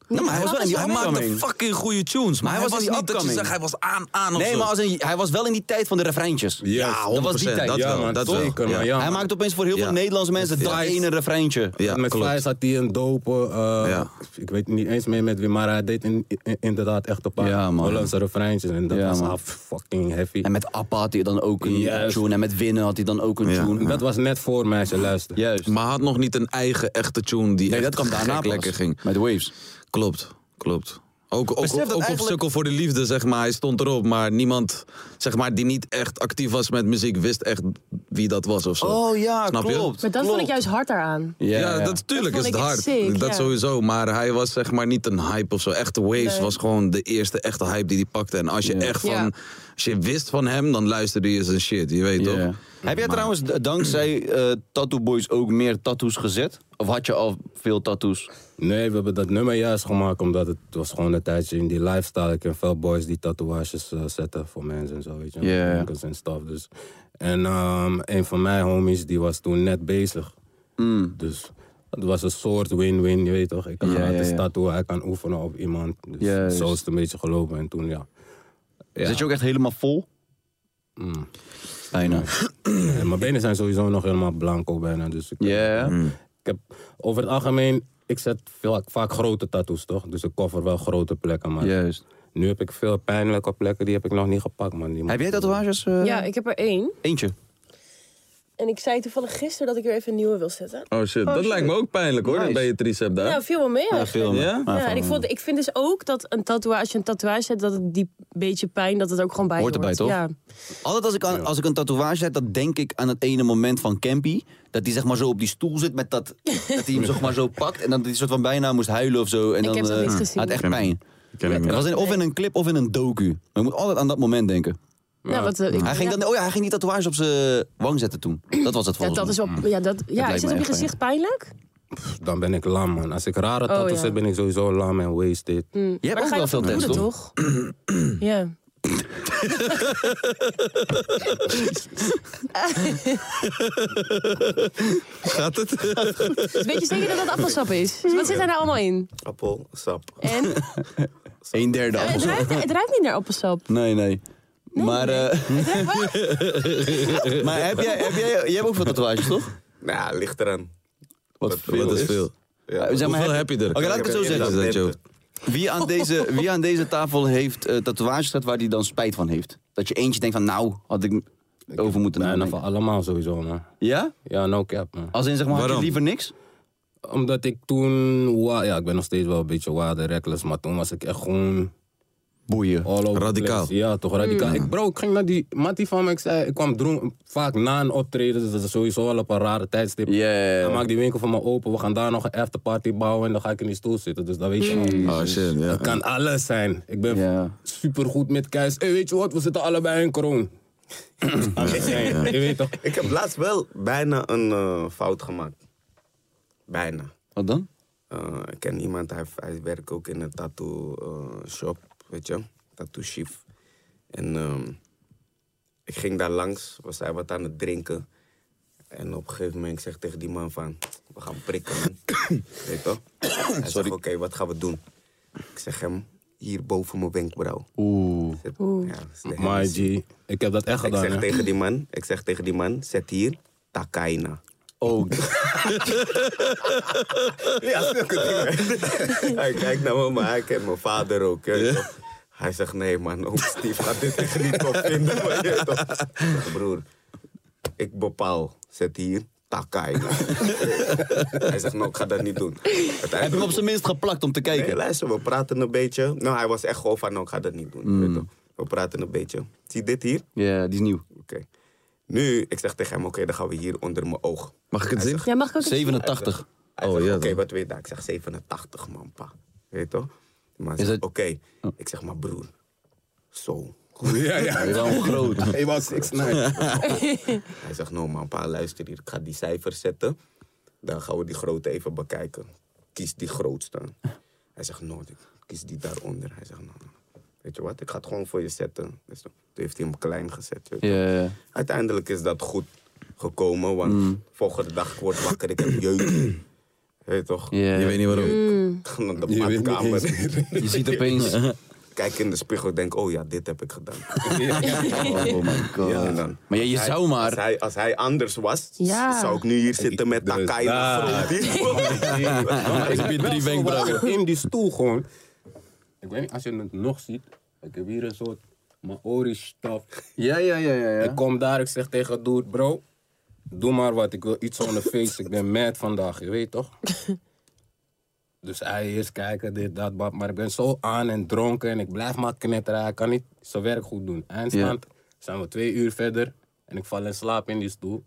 Nee, maar hij was wel in die
Hij maakte
upcoming.
fucking goede tunes, maar hij, was,
in die
niet dat je
upcoming.
zegt hij was aan, aan of
Nee,
zo.
maar als in- hij was wel in die tijd van de refreintjes.
Ja,
dat was die
100%,
tijd.
dat
ja,
wel,
man,
dat wel.
zeker,
Ja.
man. Ja,
hij
man.
maakte opeens voor heel veel
Ja.
Nederlandse mensen dat
Vijs.
ene refreintje.
Ja,
met
klopt.
Flies had hij een dopen. eh,
Ja.
Ik weet niet eens meer met wie, maar hij deed in- in- inderdaad echt een paar
Ja, man.
Hollandse refreintjes. En dat
Ja,
was
man.
af- fucking heavy.
En met Appa had hij dan ook een
Juist.
tune. En met Winnen had hij dan ook een
Ja.
tune.
Dat was net voor meisje, luister.
Juist.
Maar had nog niet een eigen echte tune die
nee,
echt
dat kwam daarna
gek
pas.
lekker ging.
Met Waves.
Klopt, klopt. Ook, ook, ook,
Besef dat
ook op
eigenlijk-
Sukkel voor de Liefde, zeg maar. Hij stond erop, maar niemand zeg maar, die niet echt actief was met muziek wist echt wie dat was of zo.
Oh,
ja,
Snap je? Oh, klopt.
Maar dat vond ik juist hard daaraan.
Ja,
Ja, ja.
dat natuurlijk
Dat
is het
vond ik
hard.
echt sick,
dat
ja.
sowieso. Maar hij was zeg maar niet een hype of zo. Echte Waves
Nee.
was gewoon de eerste echte hype die hij pakte. En als je echt van,
Ja.
als je wist van hem, dan luisterde je zijn shit. Je weet
Ja.
toch?
Heb jij trouwens d- dankzij eh, Tattoo Boys ook meer tattoos gezet? Of had je al veel tattoos?
Nee, we hebben dat nummer juist gemaakt omdat het was gewoon een tijdje in die lifestyle. Ik ken veel boys die tatoeages eh, zetten voor mensen en zo, weet je.
Ja, ja.
winkels en stuff, dus. En ehm, een van mijn homies, die was toen net bezig. Dus het was een soort win-win, je weet toch. Ik kan
Mm. Ja,
gratis
ja, ja.
tattoo, hij kan oefenen op iemand. Dus
Juist.
zo is het een beetje gelopen. En toen, ja. Ja.
Zit je ook echt helemaal vol? Bijna.
En mijn benen zijn sowieso nog helemaal blanco bijna, dus ik...
Ja.
Ik heb over het algemeen, ik zet veel, vaak grote tattoos, toch? Dus ik cover wel grote plekken, maar...
Juist.
Nu heb ik veel pijnlijke plekken, die heb ik nog niet gepakt, man. Die moet-
Heb jij tatoeages? eh?
Ja, ik heb er één.
Eentje.
En ik zei toevallig gisteren dat ik weer even een nieuwe wil zetten.
Oh shit, dat lijkt me ook pijnlijk hoor,
Nice.
bij je tricep daar.
Nou, viel wel mee
Ja,
eigenlijk.
veel.
Ja?
maar-
Ja,
maar
en ik,
van-
vond, ik vind dus ook dat een tatoeage, als je een tatoeage zet, dat het die beetje pijn, dat het ook gewoon bij
Hoort erbij, toch?
Ja.
Altijd als ik, aan, als ik een tatoeage heb, dan denk ik aan het ene moment van Campy. Dat hij zeg maar zo op die stoel zit met dat... dat hij hem zeg maar zo pakt en dan die soort van bijna moest huilen of zo. En dan,
heb dat
eh,
niet gezien.
Had echt pijn.
Ken ik
Het was in, of in een clip of in een docu. Maar je moet altijd aan dat moment denken.
Nou, wat, eh, ik-
Hij ging,
ja.
dan, oh ja, hij ging die tatoeage op zijn wang zetten toen. Dat was het
Ja,
volgens
dat is
mij.
wel, ja, dat, ja
Hmm. lijkt
is het
me
op je
echt
gezicht pijnlijk?
Dan ben ik lam, man. Als ik rare tattoos
ja.
zet, ben ik sowieso lam en wasted.
Je hebt
Maar
ook
ga je
wel veel
dat
tekst,
doen,
toch?
toch? ja.
Gaat het?
Dus weet je zeker dat dat appelsap is? Dus wat zit er nou allemaal in?
Appel, sap.
En
Een derde
het,
appelsap.
ruikt, het ruikt niet naar appelsap.
Nee, nee. Maar, eh, maar heb jij, heb jij, jij hebt ook veel tatoeages, toch?
Nou, ja, ligt eraan.
Wat veel
Dat is veel.
Ja.
Eh, zeg maar,
Hoeveel heb je er?
Oké, laat ik het zo
Ik heb er
zeggen.
inderdaad
Is dat joke?
Wie aan deze, wie aan deze tafel heeft eh, tatoeages gehad waar hij dan spijt van heeft? Dat je eentje denkt van, nou, had ik over moeten
Bijna
nadenken.
van allemaal sowieso, man.
Ja?
Ja, no cap, man.
Als in, zeg maar, had je
Waarom?
liever niks?
Omdat ik toen... wa- Ja, ik ben nog steeds wel een beetje wild en reckless, maar toen was ik echt gewoon...
Boeien.
All over the
Radicaal.
place. Ja, toch, radicaal. Ik, bro, ik ging naar die mattie van me. Ik, zei, ik kwam dronken- vaak na een optreden, dus dat is sowieso al op een rare tijdstip.
Ja, ja, ja.
Dan maak die winkel van me open. We gaan daar nog een afterparty bouwen en dan ga ik in die stoel zitten. Dus dat weet je niet.
Oh shit, ja.
Het kan alles zijn. Ik ben
Ja.
Eh, supergoed met Keis. Hey, weet je wat? We zitten allebei in kroon. Je weet toch?
Ik heb laatst wel bijna een eh, fout gemaakt. Bijna.
Wat dan?
Eh, ik ken iemand, hij, hij werkt ook in een tattoo eh, shop, weet je, tattoo chief. En ehm, ik ging daar langs, was hij wat aan het drinken. En op een gegeven moment ik zeg tegen die man van, we gaan prikken. man. Weet je toch? Hij zegt, oké, wat gaan we doen? Ik zeg hem, hier boven mijn wenkbrauw. Oeh. Ja, dat is de
Maar
Hennessy.
G, ik heb dat echt
Ik
gedaan.
zeg
hè.
tegen die man, ik zeg tegen die man, zet hier Takaina.
Oh,
Ja, zulke dingen. hij kijkt naar me, maar hij kent mijn vader ook. weet je toch. Hij zegt, nee man, oom Steve gaat dit echt niet top vinden. Maar, je weet toch. Ik zeg, broer, ik bepaal, zet hier Takaina. hij zegt, nou, ik ga dat niet doen.
heb ik
Uiteindelijk-
op zijn minst geplakt om te
Nee,
kijken.
luister, we praten een beetje. Nou, hij was echt gewoon van, nou, ik ga dat niet doen.
Mm.
je weet toch. We praten een beetje. Zie dit hier?
Ja, die is nieuw.
Oké. Nu, ik zeg tegen hem, oké, dan gaan we hier onder mijn oog.
Mag ik het zien?
Ja, mag ik ook iets-
87.
Hij
Oh,
zegt,
ja,
oké,
dan.
wat weet je daar? Ik zeg 87, man, pa. Weet je toch? Die man
Is
zegt,
het-
oké.
Oh.
Ik zeg, maar broer, zo.
Ja, ja.
Wel groot.
Hij was 6
Hij zegt, no man, pa, luister hier. Ik ga die cijfers zetten. Dan gaan we die grote even bekijken. Kies die grootste. Hij zegt, no, ik kies die daaronder. Hij zegt, no, no. Weet je wat, ik ga het gewoon voor je zetten. Dus toen heeft hij hem klein gezet. weet je.
Ja.
Uiteindelijk is dat goed gekomen, want
Mm.
volgende dag ik word wakker, ik heb jeuk. Je weet toch?
Ja.
Je weet niet waarom.
Ik ga naar de
Je weet niet
badkamer.
Je ziet opeens.
Kijk in de spiegel en denk, oh ja, dit heb ik gedaan.
Oh my god.
Ja, en dan-
Maar ja, je
Hij-
zou
Als
maar.
hij, als hij anders was,
Ja.
zou ik nu hier zitten met
Dus
Takai in de
daar.
grond.
Ik heb
drie wenkbrauwen.
In die stoel gewoon. Ik weet niet, als je het nog ziet. Ik heb hier een soort Maori-staf.
Ja, ja, ja, ja.
Ik kom daar, ik zeg tegen Doet, bro. Doe maar wat, ik wil iets on the face. Ik ben mad vandaag, je weet toch? Dus hij is kijken, dit, dat, wat. Maar ik ben zo aan en dronken en ik blijf maar knetteren. Hij kan niet zijn werk goed doen. Eindstand zijn we twee uur verder en ik val in slaap in die stoel.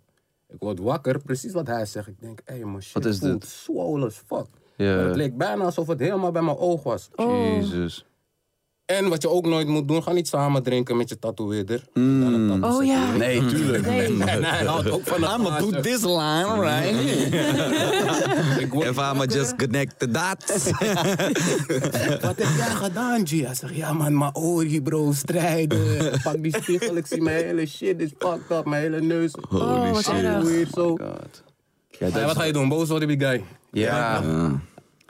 Ik word wakker, precies wat hij zegt. Ik denk, hé, hey, mijn shit
Wat is
voelt
dit?
swole as fuck.
Ja. Oh.
Maar het leek bijna alsof het helemaal bij mijn oog was.
Jezus.
En wat je ook nooit moet doen, ga niet samen drinken met je tatoeëerder.
Hmm.
Dan een tattoo
Oh
zetten.
ja.
Nee, tuurlijk.
Nee.
Nee, hij houdt ook van de
I'm gonna do
glazen.
this line,
Mm-hmm.
right?
Ik word-
If I'm just connect the dots.
Wat heb jij gedaan, G? Hij zegt, ja man, Maori bro, strijden. Ik Pak die spiegel, ik zie mijn hele shit is fucked up, mijn hele neus.
Oh, wat erg.
Weird zo.
God.
Hey, wat ga je doen, boos worden die guy?
Ja.
Oh.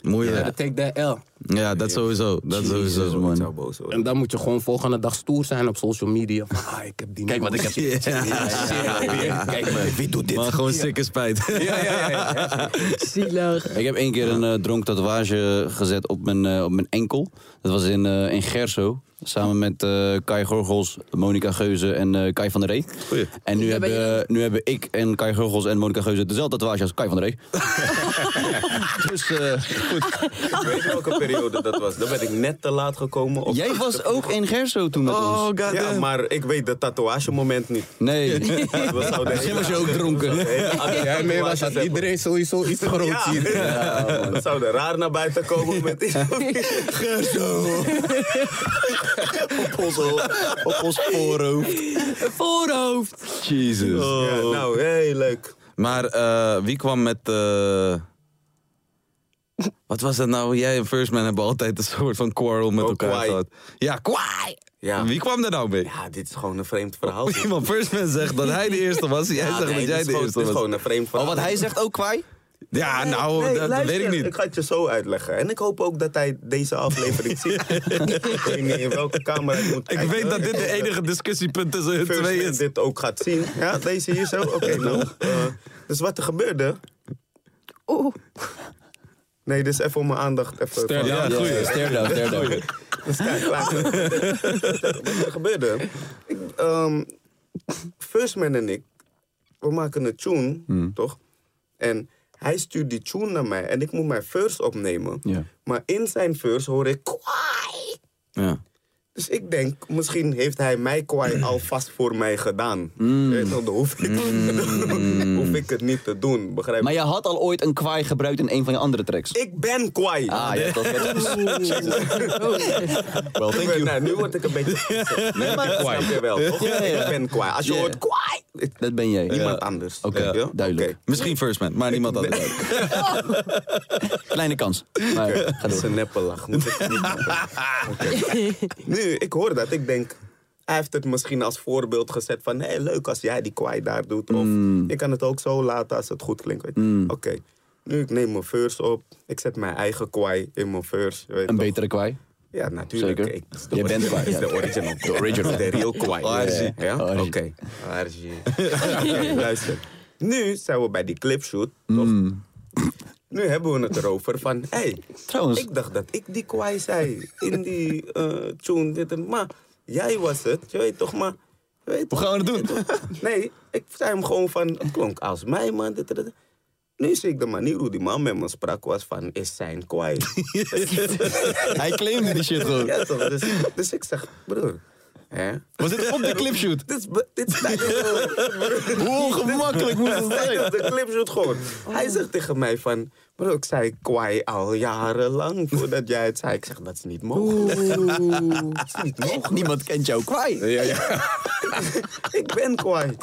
Moeilijk.
Yeah. Take that L.
Ja, dat sowieso. Dat sowieso.
Ik zou boos worden.
En dan moet je gewoon volgende dag stoer zijn op social media. Van, ah, ik heb die
Kijk wat ik heb.
Kijk, wie doet dit?
Maar gewoon stikke spijt.
Zielig.
Ik heb één keer een eh, dronk tatoeage gezet op mijn, eh, op mijn enkel. Dat was in, eh, in Gerso. Samen met eh, Kai Gorgels, Monica Geuze en eh, Kai van der Ree. En nu
Ja, ben je
hebben, nu hebben ik en Kai Gorgels en Monica Geuze dezelfde tatoeage als Kai van der Ree. dus eh, goed.
Ik weet welke periode dat was. Dan ben ik net te laat gekomen. Of...
Jij was ook in Gerso toen met
Oh,
Oh,
ons.
Ja, maar ik weet dat tatoeagemoment niet.
Nee.
We zouden
Misschien was je
hele-
ook dronken.
we zouden hele andere
Jij mee was
tatoeages
dat
hebben.
iedereen sowieso iets groot
Ja,
ziet.
we zouden raar naar buiten komen met iets.
op ons, op ons voorhoofd.
Voorhoofd.
Jezus.
Ja, nou, heel leuk.
Oh. Maar eh, wie kwam met. eh, wat was dat nou? Jij en Firstman hebben altijd een soort van quarrel met
Oh,
elkaar
kwaai.
gehad. Ja, kwaai!
Ja.
Wie kwam daar nou mee?
Ja, dit is gewoon een vreemd verhaal.
Oh, Iemand Firstman zegt dat hij de eerste was. Jij
Ja,
zegt
nee,
dat jij
dit is
de
gewoon-
eerste
dit is
was.
gewoon een vreemd
Oh,
verhaal.
wat hij zegt ook kwaai?
Ja, nou,
Nee,
dat, dat
luister,
weet ik
Ik
niet.
ga het je zo uitleggen. En ik hoop ook dat hij deze aflevering ziet. ik weet niet in welke camera hij moet
Ik
kijken.
weet dat dit
Ik
de
hoop
enige discussiepunt tussen hun
First
twee
Man
is.
dit ook gaat zien. Ja, deze hier zo. Oké, nou. eh, dus wat er gebeurde...
Oeh.
Nee, dit is even om mijn aandacht. Even
Ster-
van-
ja,
Ja,
goeie.
ja, Stare down, stare down.
Dus kijk, laten we- Wat er gebeurde. Ik, ehm, Firstman en ik, we maken een tune,
Hmm.
toch? En hij stuurt die tune naar mij en ik moet mijn verse opnemen.
Ja.
Maar in zijn verse hoor ik kwaai.
Ja.
Dus ik denk, misschien heeft hij mij kwaai alvast voor mij gedaan.
Mm.
Je Weet wel, dan hoef ik, dan hoef ik het niet te doen, begrijp
Maar
je?
je had al ooit een kwaai gebruikt in een van je andere tracks.
Ik ben kwaai. Nou,
Ah, ja, dat
Wel, thank you. Nou, nu word ik een beetje... Nee, maar
kwaai.
Snap je wel, toch?
Ja, ja.
Ik ben kwaai. Als je
Ja.
hoort kwaai, het-
Dat ben jij.
iemand
Ja.
anders.
Oké,
Snap je?
duidelijk.
Oké.
Misschien First Man, maar niemand anders.
Kleine kans. Maar ga
Dat
door.
is een neppelach. Moet ik niet doen. Oké. Nu, ik hoor dat. Ik denk, hij heeft het misschien als voorbeeld gezet van... hé, leuk als jij die kwaai daar doet. Of
Mm.
je kan het ook zo laten als het goed klinkt. weet je. Oké, nu ik neem mijn verse op. Ik zet mijn eigen kwaai in mijn verse. je weet
Een
toch?
betere kwaai.
Ja, natuurlijk.
Zeker.
Ik, dat is de
Jij bent
original.
kwaai,
Dat
ja.
is de original. De original. De real kwaai.
Orgie.
Ja?
Orgie.
Oké. Orgie. Oké, Luister. Nu zijn we bij die clipshoot. toch?
Mm.
Nu hebben we het erover van... Hey,
Trouwens.
Ik dacht dat ik die kwaai zei. In die eh, tune. Dit en, maar jij was het. Je weet toch, maar... je weet
Hoe
toch-
gaan we dat doen?
Nee, ik zei hem gewoon van, het klonk als mij, man. Dit, dit, dit. Nu zie ik de manier hoe die man met me sprak was van, is zijn kwaai.
Hij claimde die shit gewoon.
Ja, toch? Dus, dus ik zeg, broer. Hè?
Was dit op de clipshoot?
Dit is, be- dit is tijdens, broer,
Hoe ongemakkelijk moest het
tijdens
zijn?
de clipshoot gewoon.
Oh.
Hij zegt tegen mij van, bro, ik zei kwaai al jarenlang voordat jij het zei. Ik zeg, dat is niet mogelijk. Dat is niet mogelijk.
Niemand kent jou kwaai.
Ik ben kwaai.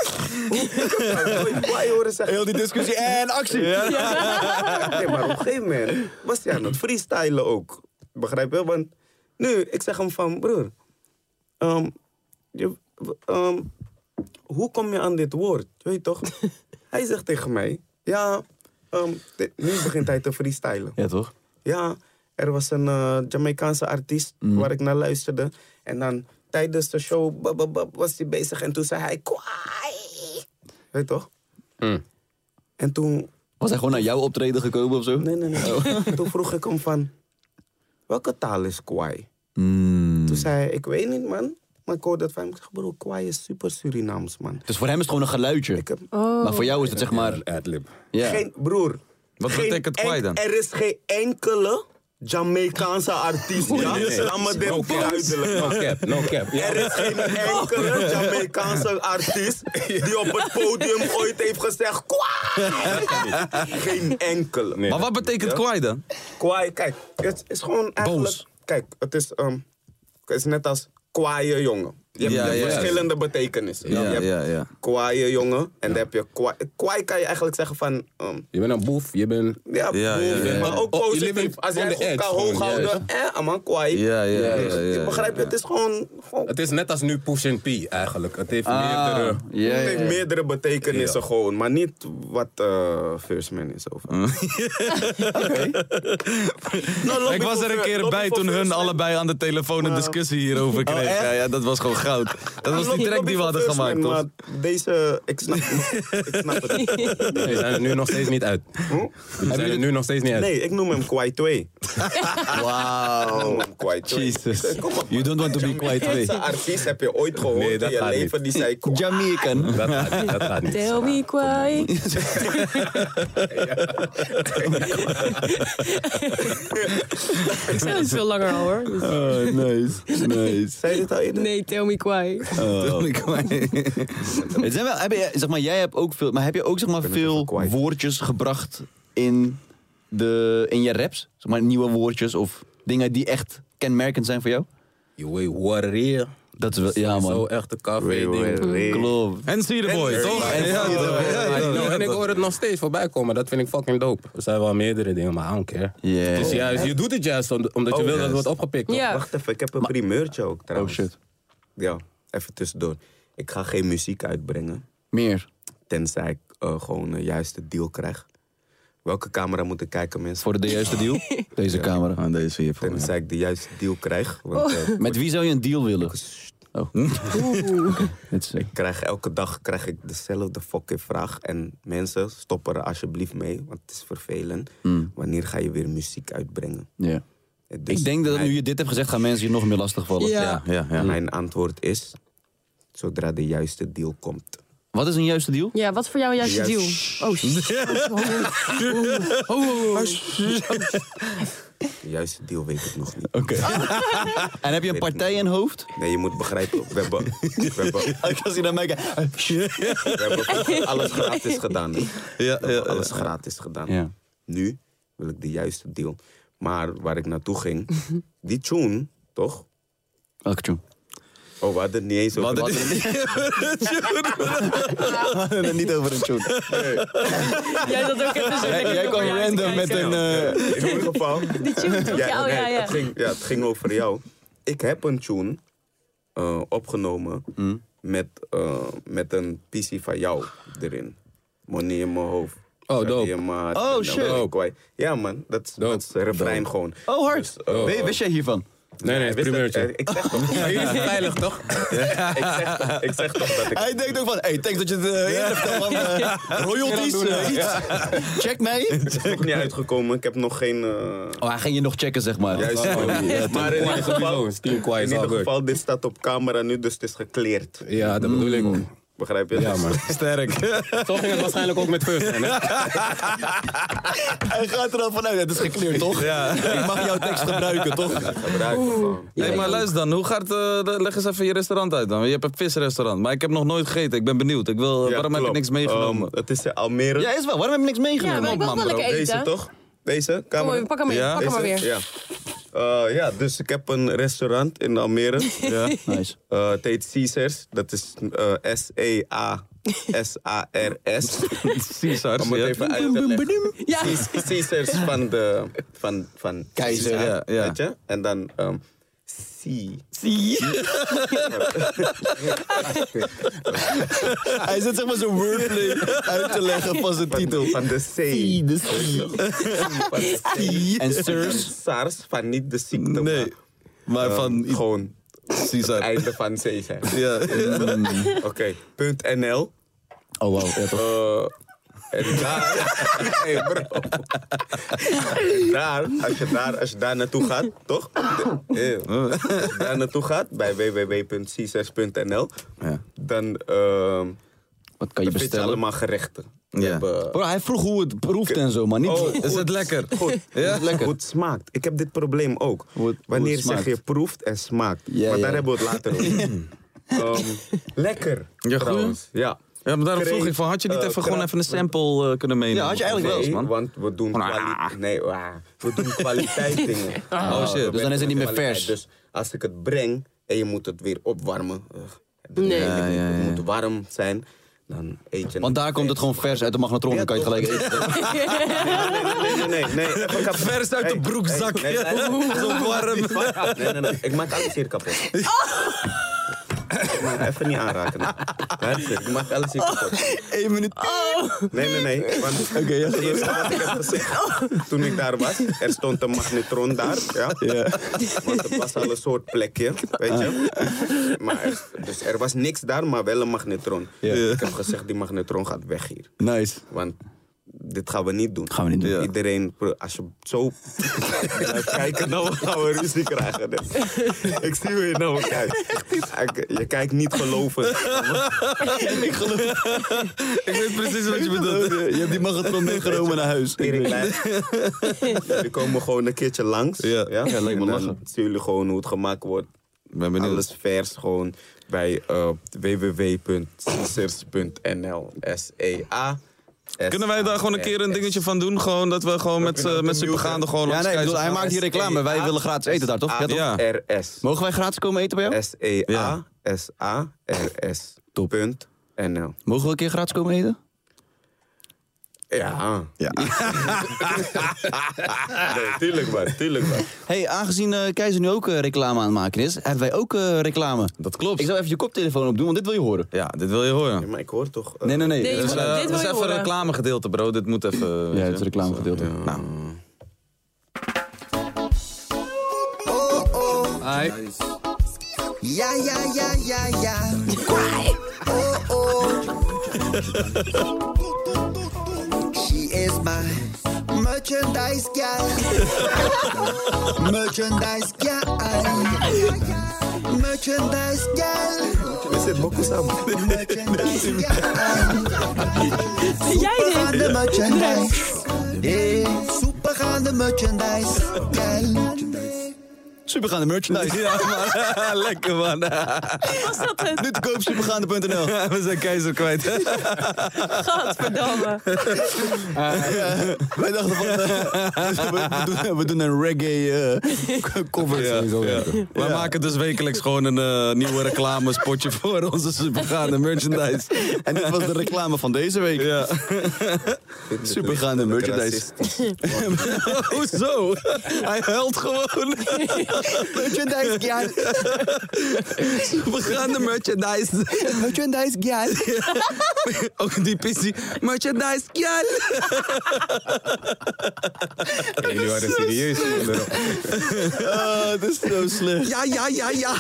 Hoe- Ik heb jou nooit kwaai horen zeggen.
Heel die discussie en actie.
Nee, maar op een gegeven moment was hij aan het freestylen ook. Begrijp je? Want nu, ik zeg hem van, broer, ehm, je, ehm, hoe kom je aan dit woord? Je Weet toch? hij zegt tegen mij, ja, ehm, dit- nu begint hij te freestylen.
Ja, toch?
Ja, er was een eh, Jamaicaanse artiest
Mm.
waar ik naar luisterde. En dan tijdens de show bab, bab, bab, was hij bezig en toen zei hij kwaai. Weet je toch?
Mm.
En toen
Was hij gewoon naar jouw optreden gekomen of zo?
Nee, nee, nee.
Oh.
Toen vroeg ik hem van, welke taal is kwaai?
Hmm.
Toen zei hij, ik weet niet man. Maar ik hoorde dat van hem. Ik zeg, bro, kwaai is super Surinaams man.
Dus voor hem is het gewoon een geluidje.
Ik heb
Maar voor jou is het zeg maar...
Adlib.
Ja.
geen, broer.
Wat
geen
betekent kwaai dan?
enk- Er is geen enkele Jamaicaanse artiest, ja? Laat me
No
dit
cap.
duidelijk
No
maken.
cap, no cap. Ja.
Er is geen
Oh.
enkele Jamaicaanse artiest die op het podium ooit heeft gezegd kwaai. Geen enkele.
Maar wat betekent kwaai dan?
Kwaai, kijk, het is gewoon eigenlijk...
Boos.
Kijk, het is, ehm, het is net als kwaaie jongen. Je hebt,
Ja,
je hebt
ja, ja.
verschillende betekenissen.
Ja,
je hebt
ja, ja.
kwaaie jongen en dan heb je kwaai. Kwaai kan je eigenlijk zeggen van... ehm,
Je bent een boef, je bent...
ja,
Ja,
boel,
ja, ja, ja.
maar ook
Oh, je
positief.
leeft
Als
on
jij
the
goed
edge
kan
gewoon,
hooghouden, eh, man, kwaai.
Ja, ja, ja.
Dus
ja, ja,
je begrijpt, het is gewoon... gewoon
Het is net als nu Push and P eigenlijk. Het heeft meerdere...
Ah, ja,
het heeft
ja.
meerdere betekenissen gewoon, maar niet wat eh First Man is over.
Mm.
Nou, lobby
Ik was
voor
er een
Fir-
keer
lobby
bij
voor
toen
First
hun
Man.
allebei aan de telefoon
Ah.
een discussie hierover
Oh,
kregen. Ja, ja, dat was gewoon goud.
Ah,
Dat was die
Lobby-
track
lobby
die we
voor
hadden
First
gemaakt,
Man,
toch?
Maar deze, ik snap, ik snap het niet.
Nee, die zijn er nu nog steeds niet uit. Die zijn er nu nog steeds niet uit.
Nee, ik noem hem Kwai 2. Wauw. Ik noem hem Kwai 2.
Jesus.
Kom op.
You don't want to be quiet way.
Deze artiest heb je ooit gehoord
Nee, dat
in je
gaat
leven die zei Kwai.
Jamaican.
Dat gaat niet, dat gaat niet.
Tell me kwaai. Ik zei het veel langer al hoor. Dus-
nice, nice.
Zei je dit al eerder?
Nee, tell me kwaai.
Oh.
Het zijn wel, heb je, zeg maar, jij hebt ook veel, maar heb je ook zeg maar, veel
even kwijt.
woordjes gebracht in, de, in je raps? Zeg maar, nieuwe woordjes of dingen die echt kenmerkend zijn voor jou?
Je weet warrior.
Dat is wel, ja
Zo
man.
echt een café-ding.
Klopt.
En see the boy, toch?
En
Ja,
see the
toch?
boy.
Ja,
Ja,
toch?
nou, en ik hoor het nog steeds voorbij komen. Dat vind ik fucking dope. Er zijn wel meerdere dingen, maar I don't care.
Yeah.
Het is juist, je doet het juist om- omdat je
Oh,
wil dat
juist.
het wordt opgepikt. toch?
Ja.
Wacht even, ik heb een primeurtje ook
Oh
trouwens.
shit.
Ja, even tussendoor. Ik ga geen muziek uitbrengen,
Meer.
tenzij ik eh, gewoon de juiste deal krijg. Welke camera moet ik kijken, mensen?
Voor de juiste deal? Deze camera.
Aan deze hier voor mij.
Tenzij ik de juiste deal krijg. Want
Oh.
eh,
Met wie zou je een deal willen? Oh. Het is-
Ik krijg elke dag krijg ik dezelfde fucking vraag. En mensen, stoppen er alsjeblieft mee, want het is vervelend. Wanneer ga je weer muziek uitbrengen?
Hmm. ja.
Dus
Ik denk dat
mijn,
nu je dit hebt gezegd, gaan mensen je nog meer lastigvallen.
Ja.
Ja, ja.
mijn antwoord is, zodra de juiste deal komt.
Wat is een juiste deal?
Ja, wat is voor jou een juiste deal? Oh, shit. Oh, oh, oh.
De juiste deal weet ik nog niet.
Oké. en heb je een partij in hoofd?
Nee, je moet begrijpen, we hebben, we hebben,
Als je naar mij kijkt.
we hebben alles gratis gedaan. hè.
Ja,
We hebben alles gratis gedaan.
Ja.
Nu wil ik de juiste deal. Maar waar ik naartoe ging, die tune, toch?
Welke tune?
Oh, we hadden het niet eens over.
hadden het niet over een tune.
Jij dat ook even zo lekker
Jij
door
kwam
elkaar te
random met
kijken.
een... eh,
In ieder geval.
Die tune toch? Ja, oh,
nee,
ja, ja.
Het ging, ja, het ging over jou. Ik heb een tune eh, opgenomen
Mm.
met, eh, met een PC van jou erin. Money in mijn hoofd.
Oh,
Zat
dope.
in mijn-
Oh,
nou,
shit.
ben ik kwijt. Ja, man, dat is-
Dope.
dat is een refrein gewoon.
Oh, hard.
Dus, eh,
We- Wist jij hiervan?
Nee, nee, het
wist dat- eh,
primeurtje.
Ik zeg toch.
Veilig, toch?
ik, zeg toch ik zeg toch dat ik.
Hij denkt ook van, hey, thanks dat je het uh, eerder vertelde, man. Eh, royalties, eh, iets. Check mij.
Het is nog niet uitgekomen. Ik heb nog geen. eh,
Oh, hij ging je nog checken, zeg maar.
juist.
eh,
maar in ieder geval.
Steam kwaai
In
is
ieder
al goed.
geval, dit staat op camera nu, dus het is gekleerd.
Ja, dat bedoel ik.
Begrijp je?
Ja,
Dus-
man. Sterk. Zo ging het waarschijnlijk ook met First. Man, hè?
Hij gaat er dan vanuit, het is gekleerd, toch? Ik mag jouw tekst gebruiken, toch?
Gebruiken gewoon.
Hey, maar luister dan, hoe gaat. eh, de- leg eens even je restaurant uit dan. Je hebt een visrestaurant, maar ik heb nog nooit gegeten. Ik ben benieuwd. Ik wil, eh,
Ja,
waarom heb
klopt.
je niks meegenomen?
Ehm, het is in Almere.
Ja, is wel. Waarom heb je niks
Ja,
meegenomen?
maar ik wil wel lekker
Deze
eten.
toch? Deze?
Kom
Camera?
maar, pak hem in.
Ja.
Pak hem maar weer.
Deze? Ja. Eh, ja, dus ik heb een restaurant in Almere. ja.
Nice.
Eh, het heet Caesars. Dat is eh, S-E-A-S-A-R-S.
Caesar.
Om het even uit te leggen. Caes- Caesars van de... Van, van
Keizer,
Caesar,
ja, ja.
Weet je? En dan... ehm C.
Hij zit zeg maar zo'n wordplay uit te leggen van zijn
Van,
titel.
van de C. Van de C.
En Sirs.
SARS van niet de ziekte,
Nee, maar
maar
van.
ehm, gewoon het
Caesar.
einde van Caesar.
Ja.
Oké, punt NL.
Oh, wow. Ja, toch.
Eh, en daar, hey bro. En daar, als je daar, als je daar naartoe gaat, toch? Eh, Als je daar naartoe gaat, bij www.c6.nl,
Ja.
dan ehm
Wat kan je
vind je
bestellen?
allemaal gerechten. We
Ja.
hebben-
Bro, hij vroeg hoe het proeft en zo, maar niet...
Oh,
Is het lekker?
Goed,
Ja?
lekker. goed smaakt. Ik heb dit probleem ook.
hoe het
Wanneer zeg
smaakt.
je proeft en smaakt.
Ja,
maar daar
ja.
hebben we het later over. Ehm, lekker.
Ja, goed.
trouwens. Ja.
Ja, maar daarom vroeg
Kreeg,
ik van, had je niet
eh,
even gewoon
krab-
even een sample eh, kunnen meenemen?
Ja, had je
Of
eigenlijk
Nee,
iets,
wel,
want we doen, kwali- nee, Oh, nou, ah, we doen kwaliteit dingen.
Oh, shit.
Dus dan is het niet meer
Kwaliteit.
vers.
Dus als ik het breng en je moet het weer opwarmen. ugh, het doet
Nee.
me eigenlijk
Ja,
niet.
ja,
Het
ja.
moet warm zijn. Dan eet je
Want daar komt het gewoon vers uit de magnetron, dan kan je het gelijk eten.
Nee, nee, nee. nee. even kapot.
Vers uit de
Hey,
broekzak.
hey, nee, nee, nee.
Zo warm. Oh.
Nee, nee, nee. Ik maak alles hier kapot. Ik maak even niet aanraken. Luister, ik maak alles hier
Oh.
kapot. Oh.
Eén minuut.
Nee, nee, nee. Want het eerste wat ik heb
Oh.
gezegd toen ik daar was, er stond een magnetron daar. Ja? Want het was al een soort plekje, weet je. Maar er, dus er was niks daar, maar wel een magnetron. Ik heb gezegd, die magnetron gaat weg hier.
Nice.
Want dit gaan we niet doen.
Gaan we niet doen. Ja.
Iedereen, pro- als je zo blijft kijken, dan gaan we ruzie krijgen. Dus ik zie hoe je naar me kijkt. Ik- Je kijkt niet gelovend.
Ik weet precies wat je bedoelt.
Je hebt die magnetron meegenomen naar huis.
Teringlijn. Jullie komen gewoon een keertje langs.
Ja. Ja, lijkt me
En dan
lachen.
zien jullie gewoon hoe het gemaakt wordt.
Ik ben benieuwd.
Alles vers gewoon bij eh www.scissors.nl. S-E-A.
Kunnen wij daar gewoon een keer een dingetje van doen? Gewoon dat we gewoon met, eh, met supergaande gewoon
Ja,
langs
nee, ik bedoel,
kijken.
hij maakt hier reclame. Wij willen gratis eten daar, toch? Ja, toch?
Ja.
R-S.
Mogen wij gratis komen eten bij jou?
E S-E-A. S-A-R-S.
Top.
Punt NL.
Mogen we een keer gratis komen eten?
Ja. Ja. nee, tuurlijk maar, tuurlijk maar.
hey, aangezien eh, Keizer nu ook eh, reclame aan het maken is, hebben wij ook eh, reclame.
Dat klopt.
Ik zou even je koptelefoon opdoen, want dit wil je horen.
Ja, dit wil je
Ja,
horen.
maar ik hoor toch... eh,
Nee, nee, nee.
Nee, je
Dus,
moet-
eh,
Eh,
dit wil
dat is
je
even een
horen.
reclamegedeelte, bro. Dit moet even...
ja, het is het reclamegedeelte.
Nou. Hi.
Ja, ja, ja, ja, ja. Oh, oh. She is my merchandise girl. Merchandise girl. Merchandise girl.
Is dit Bokko samen?
Merchandise girl.
Jij
Supergaande
dit?
merchandise. Hey, supergaande Supergaande merchandise, gal.
Supergaande merchandise. Ja, man. Lekker, man.
Was dat het?
Nu te koop supergaande.nl.
We zijn keizer kwijt.
Gadverdamme.
Wij dachten van, eh, we, we doen, we doen een reggae eh, cover.
Sowieso werken. Wij maken dus wekelijks gewoon een eh, nieuwe reclamespotje voor onze supergaande merchandise.
En dit was de reclame van deze week.
Ja.
Supergaande merchandise.
Hoezo? Hij huilt gewoon.
Merchandise, gal.
Supergaande merchandise.
Merchandise, gal.
Ook die pissie. Merchandise, ja.
Jullie waren serieus.
Ah, dit is zo slecht.
Ja, ja, ja, ja.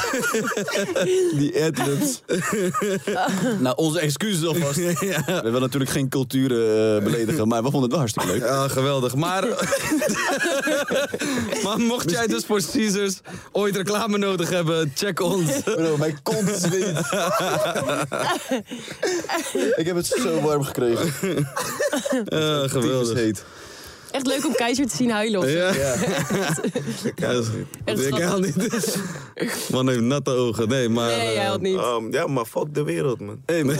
Die adlibs. nou, onze excuses alvast. We willen natuurlijk geen culturen eh, beledigen, maar we vonden het wel hartstikke leuk.
Ja, geweldig. Maar, maar mocht jij dus voor Caesars ooit reclame nodig hebben, check ons.
Bro, mijn kont zweet. Ik heb het zo warm gekregen.
Eh,
Tyfus
geweldig.
heet.
Echt leuk om Keizer te zien huilen. of zo.
Ja. Ja, dat- Ik haal niet. Man heeft natte ogen. Nee, maar...
Nee, hij
eh,
had niet.
Ehm, ja, maar fuck de wereld, man.
Hey, man.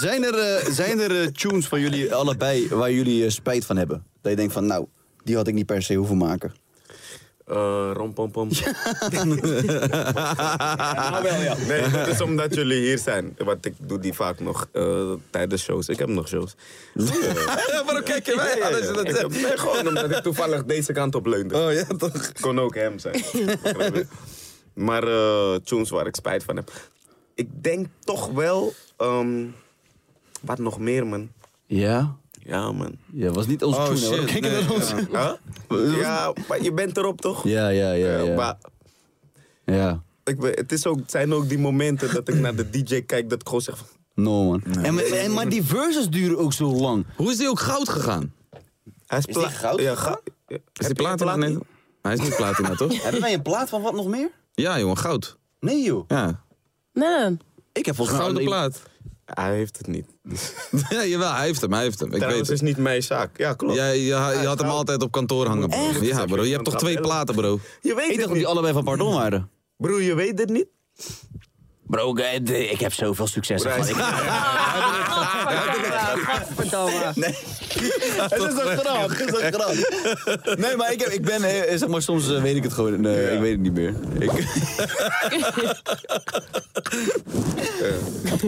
zijn er, eh, zijn er eh, tunes van jullie allebei waar jullie eh, spijt van hebben? Dat je denkt van, nou, die had ik niet per se hoeven maken.
Eh rompompom. Ah, Nee, dat is omdat jullie hier zijn. Want ik doe die vaak nog eh, tijdens shows. Ik heb nog shows.
Ja, waarom kijk je mij aan als je dat
Ik heb-
zegt?
nee, gewoon omdat ik toevallig deze kant op leunde.
Oh ja, toch?
Kon ook hem zijn. Snap je? maar eh, tunes waar ik spijt van heb. Ik denk toch wel... ehm, wat nog meer, man.
Ja?
Ja, man.
Ja, was niet onze
Oh,
tune. hoor.
shit,
Kijk
nee,
naar ons.
Huh? Ja, maar je bent erop, toch?
Ja, ja, ja.
Eh,
ja.
maar
ja.
ik ben- het is ook, zijn ook die momenten dat ik naar de DJ kijk dat ik gewoon zeg van...
No, man. En, maar- en, maar die verses duren ook zo lang.
Hoe is die ook goud gegaan?
Hij is,
die
pla-
goud
Ja,
gegaan?
ga-
Is
ja. Heb
die
je een
platina?
plaat?
Nee, hij is niet platina, toch?
Hebben wij een plaat van wat nog meer?
Ja, jongen, goud.
Nee, joh.
Ja.
Nee.
Ik heb volgens mij...
Gouden
alleen-
plaat.
Hij heeft het niet.
Ja, jawel, hij heeft hem, hij heeft hem. Ik weet
Trouwens,
het.
is niet mijn zaak. Ja, klopt.
Jij, je, ha- je had hem altijd op kantoor hangen, bro. Ja, bro. Je hebt toch twee platen, bro?
Je weet
Ik
het
dacht dat
niet.
die allebei van Pardon waren.
Broer, je weet het niet?
Bro, ik, ik heb zoveel succes
Prijs.
gehad.
Gadverdamme.
Het is een grap, het is een grap. Nee, maar ik, heb, ik ben, eh, zeg maar, soms eh, weet ik het gewoon, nee, ik weet het niet meer. Ik...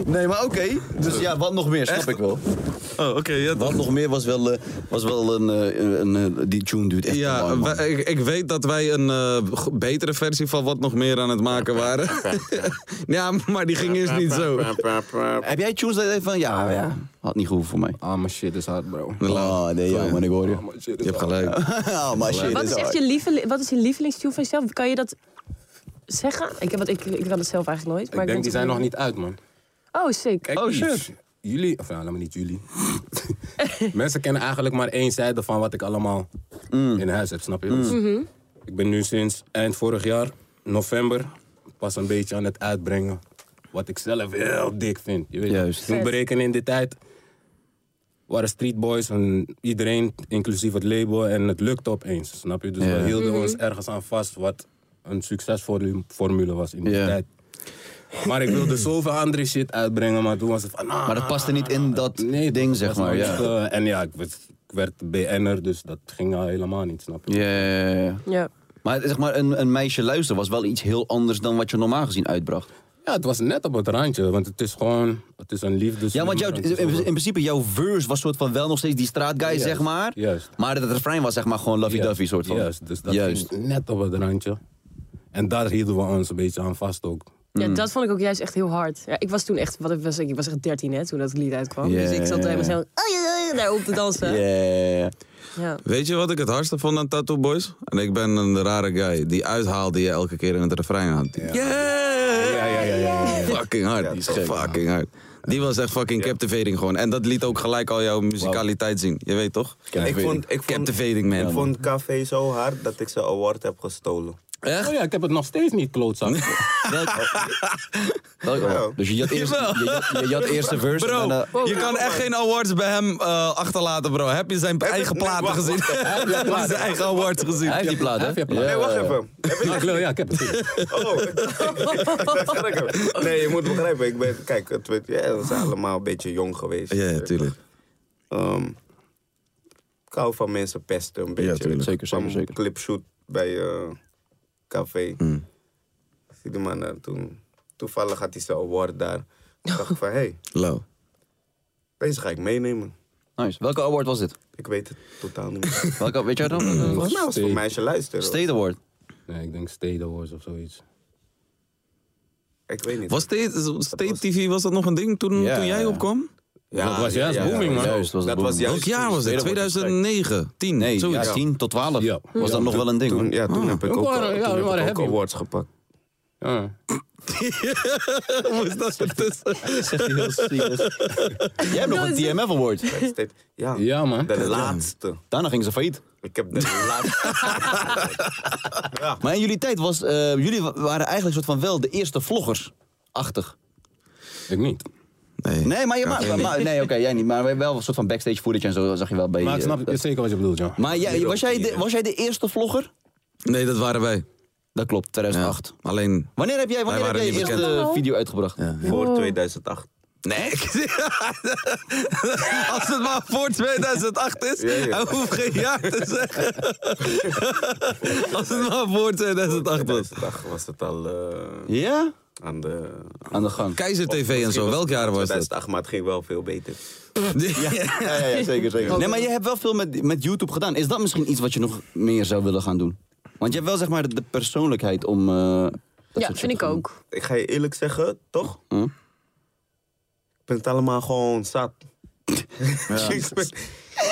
Nee, maar oké. Dus ja, wat nog meer, snap ik wel.
Oh, oké. ja,
Wat nog meer was wel, eh, was wel een, eh, een, eh, die tune duurt echt te lang,
ja,
man.
wij- ik, ik weet dat wij een eh, go- betere versie van wat nog meer aan het maken waren. ja, maar die ging eerst niet zo.
Heb jij tunes dat je denkt van, ja, ja, had niet gehoeven voor mij.
Ah, mijn shit is hard, bro.
Oh, nee, ja, man, ik hoor je.
Ah,
Je hebt gelijk.
Oh, maar shit,
Wat is
dit
echt
hard.
je, lieveli- wat is je lievelingstune van jezelf? Kan je dat zeggen? Ik, heb, want ik, ik kan het zelf eigenlijk nooit. Maar
Ik denk, die
dat
zijn
ik-
nog niet uit, man.
Oh, sick.
Kijk,
Oh,
die-
shit.
Jullie, of ja, laat me niet jullie. Mensen kennen eigenlijk maar één zijde van wat ik allemaal
Mm.
in huis heb, snap je? Dus
Mhm.
Ik ben nu sinds eind vorig jaar, november, pas een beetje aan het uitbrengen. Wat ik zelf heel dik vind. Je weet,
Juist.
Toen berekenen in die tijd waren streetboys en iedereen, inclusief het label, en het lukte opeens, snap je? Dus
Ja.
we hielden ons ergens aan vast wat een succesformule was in die
Ja.
tijd. Maar ik wilde zoveel andere shit uitbrengen, maar toen was het van... ah,
Maar dat past er niet in dat
nee,
ding,
dat
zeg
was
maar.
nog
Ja.
niet, eh, en ja, ik werd, ik werd BN'er, dus dat ging al helemaal niet, snap je?
Ja, ja, ja, ja.
Ja.
Maar zeg maar, een, een meisje luisteren was wel iets heel anders dan wat je normaal gezien uitbracht.
Ja, het was net op het randje, want het is gewoon... Het is een liefdes.
Ja, want jouw, in, in principe, jouw verse was soort van wel nog steeds die straatguy, zeg maar.
juist.
Maar het refrein was zeg maar gewoon lovey-dovey soort van.
Juist, dus dat
Juist.
ging net op het randje. En daar hielden we ons een beetje aan vast ook.
Ja, dat vond ik ook juist echt heel hard. Ja, ik was toen echt, wat ik was, ik was echt 13 hè, toen dat lied uitkwam.
Ja,
Dus ik zat
ja,
daar mezelf oh, ja, ja, ja, daar op te dansen.
Yeah.
Ja.
Weet je wat ik het hardste vond aan Tattoo Boys? En ik ben een rare guy. Die uithaal die je elke keer in het refrein had. Yeah!
Ja, ja, ja, ja. ja.
Fucking hard. die is fucking hard. Die was echt fucking captivating gewoon. En dat liet ook gelijk al jouw muzikaliteit zien. Je weet toch?
Ik vond, ik vond,
Captivating, man.
Ik vond Café zo hard dat ik zijn award heb gestolen.
Echt?
Oh ja, ik heb het nog steeds niet klootzak.
Welk- oh, Dus je had eerst,
Jawel.
je had, je had eerst de verse. en
Bro,
daarna-
je kan echt geen awards bij hem eh, achterlaten, bro. Heb je zijn eigen platen gezien? Heb je zijn eigen awards gezien?
hij heeft die plaat, hè?
Heb je plaat?
Nee, wacht even. Heb je-
Ja, ik wil- ja, ik heb het.
Oh, ik dacht dat ik hem- nee, je moet begrijpen. Ik ben, kijk, het, werd- ja, we zijn allemaal een beetje jong geweest.
Ja, tuurlijk.
Ehm, ik hou van mensen pesten een beetje.
tuurlijk.
Zeker,
Ik kwam
zeker, zeker.
een clipshoot bij eh café.
Mm.
Ik zie die man daar toen. Toevallig had hij zijn award daar. Ik dacht van, hé, hey,
Low.
deze ga ik meenemen.
Nice. Welke award was dit?
Ik weet het totaal niet meer.
Welke, weet jij dan?
Mm.
Volgens mij was het voor
Stay.
meisje luisteren. hoor.
State Award.
Nee, ik denk Steden Wars of zoiets.
Ik weet niet.
Was State, State TV was dat nog een ding toen,
Ja,
toen jij
ja.
opkwam?
Dat was juist booming, man.
Juist, was
Dat
het
was
booming.
juist
Welk jaar was dit?
Tweede wordt
2009, 10,
Nee,
zoiets.
ja, 10 tot 12
Ja.
was dat
Ja.
nog wel een ding,
Toen,
hoor.
ja,
Ah.
toen heb ik
We
ook,
waren-
toen
ja, we
heb ik
waren
ook
heavy.
awards gepakt.
Ja.
Moest dat ertussen?
Zegt hij heel serieus. Jij hebt nog een TMF Award.
Steeds- Ja,
Ja, man.
de laatste.
Daarna ging ze failliet.
Ik heb de laatste.
Maar in jullie tijd was, eh, jullie wa- waren eigenlijk soort van wel de eerste vloggers-achtig.
Ik niet.
Nee.
Nee, maar, je, maar,
geen-
maar- nee, oké, jij niet. Maar wel een soort van backstage footage en zo zag je wel bij.
Maar ik
eh,
snap
dat-
zeker wat je bedoelt, ja.
Maar jij, was, jij de, was jij de eerste vlogger?
Nee, dat waren wij.
Dat klopt,
Ja.
2008.
Alleen...
Wanneer heb jij, wanneer heb
waren
jij je
niet
eerste
bekend.
eh, video uitgebracht?
Voor 2008.
Nee, als het maar voor 2008 is,
Ja, ja.
hij hoeft geen jaar te zeggen. als het maar voor 2008 was.
2008 was het al eh,
Ja?
aan de...
Aan de gang.
Keizer TV en
Misschien
zo, welk jaar was dat?
2008, maar het ging wel veel beter.
Ja.
Ja, zeker, zeker. Nee, maar je hebt wel veel met, met YouTube gedaan. Is dat misschien iets wat je nog meer zou willen gaan doen? Want je hebt wel zeg maar de persoonlijkheid om. eh, dat soort
Ja,
shit
vind
te
ik
doen.
ook.
Ik ga je eerlijk zeggen, toch?
Hm?
Ik ben het allemaal gewoon zat. ik, ben,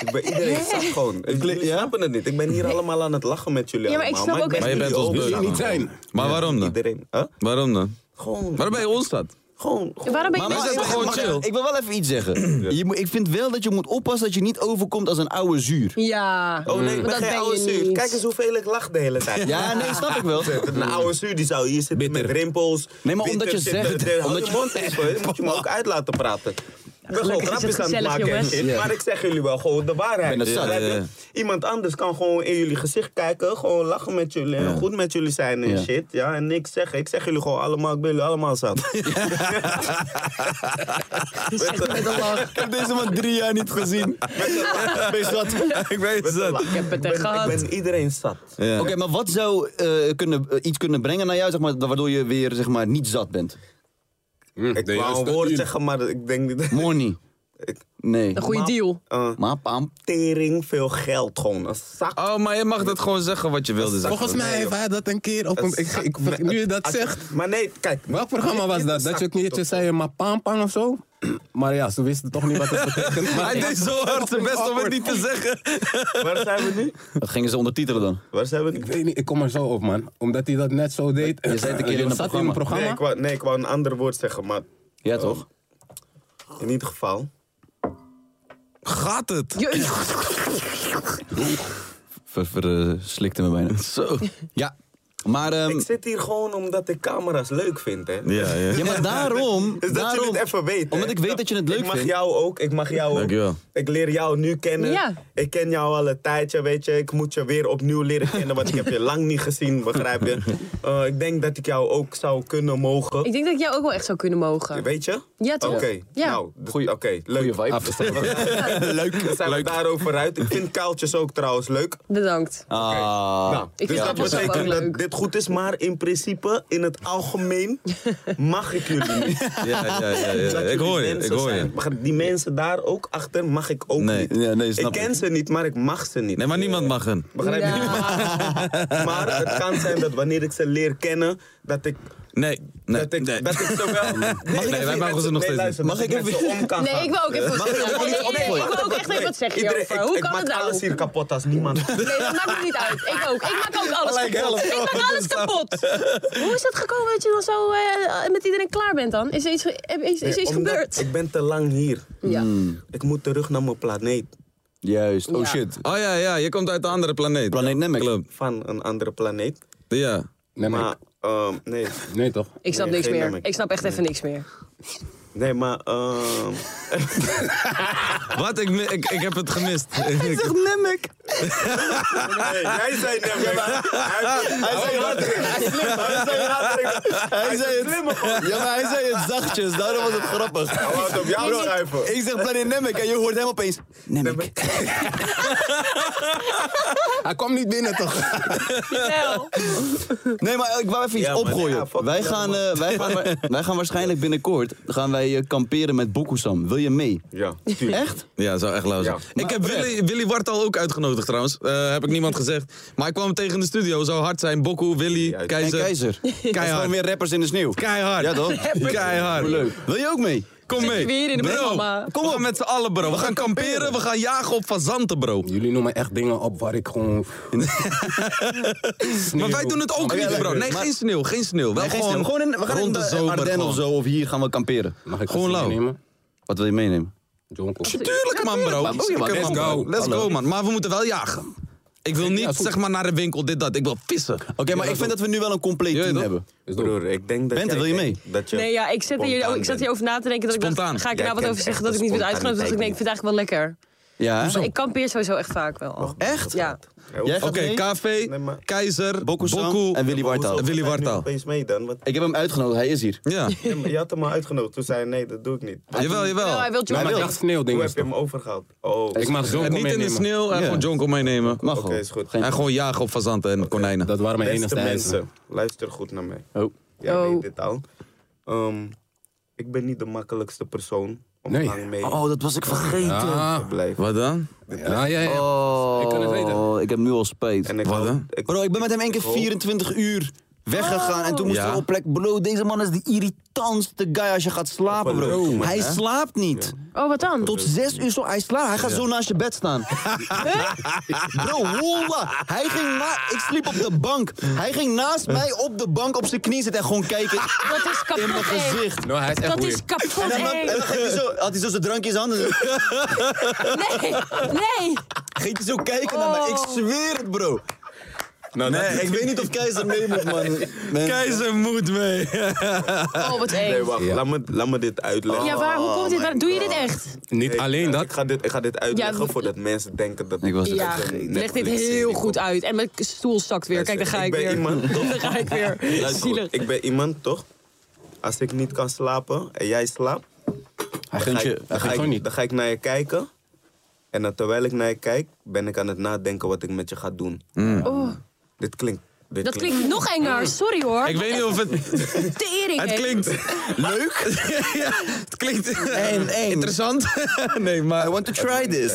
ik ben iedereen zat gewoon. Ik, jullie snappen het niet. Ik ben hier allemaal aan het lachen met jullie
Ja, maar ik
allemaal.
snap ook echt-
Maar je
jullie
bent ons
ook.
beu.
niet zijn.
Maar waarom dan?
Iedereen. Huh?
Waarom dan?
Gewoon,
Waarom ben je ons dat?
gewoon, gewoon.
Waarom ben je
Maar-
niet
zijn
zo-
toch gewoon
maar-
chill?
Ik wil wel even iets zeggen. Je moet, ik vind wel dat je moet oppassen dat je niet overkomt als een oude zuur.
Ja.
Oh nee,
want
ik ben
dat
geen oude
je
zuur.
niet.
Kijk eens hoeveel ik lach de hele tijd.
Mm. Ja, nee, snap ik wel.
Een oude zuur die zou hier zitten met rimpels.
Nee, maar omdat
bitter
je
zitten.
zegt-
De- de-
omdat
hou je
je-
mond eens, hoor. Dan moet je me ook uit laten praten. Ik ben gewoon
Gelukkig is het
grapjes aan het
gezellig,
maken en
jongens.
shit, maar ik zeg jullie wel gewoon de waarheid.
ben het zat.
Begrijp je?
Ja, ja,
Iemand anders kan gewoon in jullie gezicht kijken, gewoon lachen met jullie en goed met jullie zijn en
Ja.
shit. Ja, en niks zeggen. Ik zeg jullie gewoon allemaal, ik ben jullie allemaal zat.
Ik heb deze man drie jaar niet gezien. Wees wat.
Ik weet het.
Ik
heb het er
ben-
gehad.
Ik ben iedereen zat.
Oké, maar wat zou eh, kunnen, eh, iets kunnen brengen naar jou, zeg maar, waardoor je weer zeg maar, niet zat bent?
Ik
de
wou
juiste
een woord
deal.
zeggen, maar ik denk niet...
Money. Nee.
Een goede deal.
Eh,
Maar pam.
tering veel geld gewoon. Een zak
Oh, maar je mag dat gewoon zeggen wat je wilde zeggen.
Volgens mij heeft hij dat een keer op een... Ik, ik, ik- nu je dat
Als-
zegt...
Maar nee, kijk.
Welk programma was dat? Dat je een keertje zei, maar paampang of zo? Maar ja, ze wisten toch niet wat het betekent. Maar
Hij deed zo hard zijn best om het niet te zeggen.
Waar zijn we nu?
Dat gingen ze ondertitelen dan.
Waar zijn we nu?
Ik weet niet, ik kom er zo op, man. Omdat hij dat net zo deed.
Je zei het een keer in een
Zat
programma.
Nee, ik wou, nee, ik wou een ander woord zeggen, maar
Ja, toch?
in ieder geval.
Gaat het?
Verslikte me bijna.
Zo.
Ja. Maar, ehm,
ik zit hier gewoon omdat ik camera's leuk vind, hè?
Ja, ja.
ja, maar daarom...
Dus dat
daarom,
je het even weet. hè?
Omdat ik weet dat je het leuk
Ik mag
vindt.
jou ook, ik mag jou ook.
Dankjewel.
Ik leer jou nu kennen.
Ja.
Ik ken jou al een tijdje, weet je. Ik moet je weer opnieuw leren kennen, want ik heb je lang niet gezien, begrijp je? Eh, ik denk dat ik jou ook zou kunnen mogen.
Ik denk dat ik jou ook wel echt zou kunnen mogen.
Weet je?
Ja, toch?
Oké,
Ja.
nou, d- oké, leuk.
Goeie vibe.
leuk. Dan zijn we daarover uit. Ik vind kuiltjes ook trouwens leuk.
Bedankt.
Ah.
Nou,
Ik
dus
vind
dat
dat wel
betekent
leuk.
dat dit goed is, maar in principe, in het algemeen, mag ik jullie niet.
Ja, ja, ja, ja.
Dat
Ik
jullie
hoor je, ik
mensen
hoor je.
zijn. Maar Die mensen daar ook achter mag ik ook
Nee,
niet.
ja, nee, snap
ik ken ze niet, maar ik mag ze niet.
Nee, maar niemand mag een.
Begrijp je? Maar, maar het kan zijn dat wanneer ik ze leer kennen, dat ik...
Nee, nee,
Dat ik,
nee.
dat ik zowel...
even- wij mogen ze nog steeds
nee, luister,
niet.
dat ik met ze om kan
Nee,
gaan.
ik wil ook even wat zeggen. Nee, nee, nee, Ik wil ook echt even wat zeggen
Iedereen-
hierover.
ik-
Hoe
ik
kan
maak
het nou?
alles hier kapot als niemand...
Nee, dat maakt me niet uit. Ik ook. Ik maak ook alles
Gelijk
kapot.
helft.
Ik maak alles kapot. Hoe is dat gekomen dat je dan zo eh, met iedereen klaar bent dan? Is er iets, ge- heb- is, is er iets
Eh, Omdat
gebeurd?
Ik Hmm. ben te lang hier.
Ja.
Ik moet terug naar mijn planeet.
Juist. Oh
Ja.
shit.
Oh ja, ja, je komt uit een andere planeet.
Planeet Nemec.
Klopt.
Van een andere planeet.
Ja.
Nee, nee.
Maar, ehm, nee.
Nee, toch?
Ik snap
Nee,
niks
geen
meer.
namelijk.
Ik snap echt even niks meer.
Nee, maar, ehm,
Wat? Ik, mi- ik, ik heb het gemist. Ik-
Nemmek.
Hey, jij zei Nemmek. Hij zei later. Hij zei later. Hij zei het. Slimme gewoon.
Ja, maar hij zei het zachtjes, daarom was het grappig.
Hij wou het op jou schrijven.
Ik zeg Planet Nemmek en je hoort hem opeens. Nemmek.
Hij kwam niet binnen, toch?
Nee, maar ik wou even iets
Ja, maar-
opgooien.
ja, fuck
wij,
ja,
gaan,
man.
eh, wij, gaan, wa- wij gaan waarschijnlijk binnenkort gaan wij, eh, kamperen met Bokusam. Wil je mee?
Ja, tuurlijk.
Echt?
Ja, zou echt lauw zijn.
Ja.
ik heb Willy, Willy Wartal ook uitgenodigd trouwens. Eh, heb ik niemand gezegd. Maar ik kwam hem tegen in de studio. Zou hard zijn. Bokko, Willy,
Ja,
Keizer.
En Keizer. Er zijn gewoon
Keihard.
weer rappers in de sneeuw.
Keihard.
Ja, toch?
Keihard.
Hoe leuk. Wil je ook mee?
Kom mee.
Zitten we hier in de
bro,
programma?
kom op met z'n allen bro. We, gaan kamperen. We gaan jagen op fazanten bro.
Jullie noemen echt dingen op waar ik gewoon...
Maar wij doen het ook niet bro. Nee, geen sneeuw. Geen sneeuw. Wel
Nee, geen
gewoon,
sneeuw. gewoon in, we gaan
rond
in
de
de
zomer
Ardennen of
gewoon.
zo, of hier gaan we kamperen.
Mag ik
Gewoon
wat
lauw.
nemen?
Wat wil je meenemen?
John Cox.
Tuurlijk man bro.
maar- oh, ja, maar-
Oké, man,
let's
bro.
go.
Let's go man. Maar we moeten wel jagen. Ik wil niet
Ja, goed.
zeg maar naar de winkel dit dat. Ik wil vissen.
Oké, maar ik vind dat we nu wel een compleet
Ja,
team
toch?
hebben.
Is dood.
Broer, ik denk dat
Bente,
jij
wil je mee?
denkt dat je
Nee, ja, ik zat, hier,
spontaan
ik zat
bent.
hierover na te denken. Dat ik
Spontaan.
dacht, ga ik
Jij
daar wat
kent
over zeggen
echt
dat ik
de
niet ben uitgenodigd? Dus ik denk,
spontaniteit
ik vind het eigenlijk wel lekker.
Ja.
Ik kampeer sowieso echt vaak wel. al.
Echt?
Ja.
Jij gaat
Oké,
mee?
KV,
Nee, maar-
Keizer,
Bokusam
Bokko
en Willy Wartaal.
En Willy Wartaal.
Opeens mee dan. Want
Ik heb hem uitgenodigd, hij is hier.
Ja,
Ja, maar je had hem al uitgenodigd. Toen zei hij, nee, dat doe ik niet.
jawel,
Nou, hij
jawel.
wil
Maar ik
John
dacht
Cox.
Hoe
sneeuwdingen.
heb je hem overgehaald? Oh,
Ik mag John
En
Cox
niet in de
meenemen.
sneeuw en
Ja.
gewoon jonko meenemen.
Mag
oké,
wel.
is goed.
Geen-
En gewoon jagen op fazanten en konijnen.
Dat waren mijn
Beste
enige eisen.
mensen, luister goed naar mij.
eh. Oh.
Jij
Oh.
weet dit al. Ehm, ik ben niet de makkelijkste persoon om
Nee.
lang mee
Oh, dat was ik vergeten.
te blijven.
Wat dan?
Ah. Ja, ja, ja.
Oh,
Ik kan het weten.
ik heb nu al spijt.
En ik
Wat
hoop-
dan?
ik-
Bro, ik ben met hem één keer
ik hoop-
24 uur weggegaan. En toen moesten
Ja.
we op plek. Bro, deze man is de irritantste guy als je gaat slapen,
Op een
bro.
leuk,
Hij slaapt niet.
Oh, wat dan?
Tot zes uur zo, hij slaapt. Hij gaat zo naast je bed staan. bro, wallah. Hij ging na... Ik sliep op de bank. Hij ging naast mij op de bank op zijn knie zitten en gewoon kijken
Dat is kapot
in
eng.
mijn gezicht.
Nou, hij is echt
Dat is
weird.
kapot
En dan, en
eng.
dan ging hij zo, had hij zo zijn drankje in zijn handen.
Nee, nee.
Ging hij zo kijken naar mij. Ik zweer het, bro.
Nou, dat-
Nee, ik weet niet of Keizer mee moet, man.
Keizer moet mee.
Oh, wat eng.
Nee, wacht. Laat, me, laat me dit uitleggen.
Ja, waar, hoe komt dit? Waar, doe je dit echt?
Niet
Ik-
alleen
Ik
dat.
ga dit, ik ga dit uitleggen
Ja,
voordat mensen denken dat
Ik was het
Ja, leg dit heel goed uit. En mijn stoel zakt weer. Kijk, daar ga ik
Ik ben
weer.
iemand-
Daar ga ik weer. Zielig.
Ik ben iemand, toch? Als ik niet kan slapen en jij slaapt,
Hij
dan
gunt
ga,
je.
ik, dan,
gunt
ga
gewoon
ik,
niet.
dan ga ik naar je kijken. En dan terwijl ik naar je kijk, ben ik aan het nadenken wat ik met je ga doen. Dit klinkt... Dit
Oh. Dat klinkt nog enger. Sorry hoor.
Ik weet niet of het...
Tering.
Het
eng.
klinkt... Leuk? ja, het klinkt interessant. nee,
I
maar...
want to try this.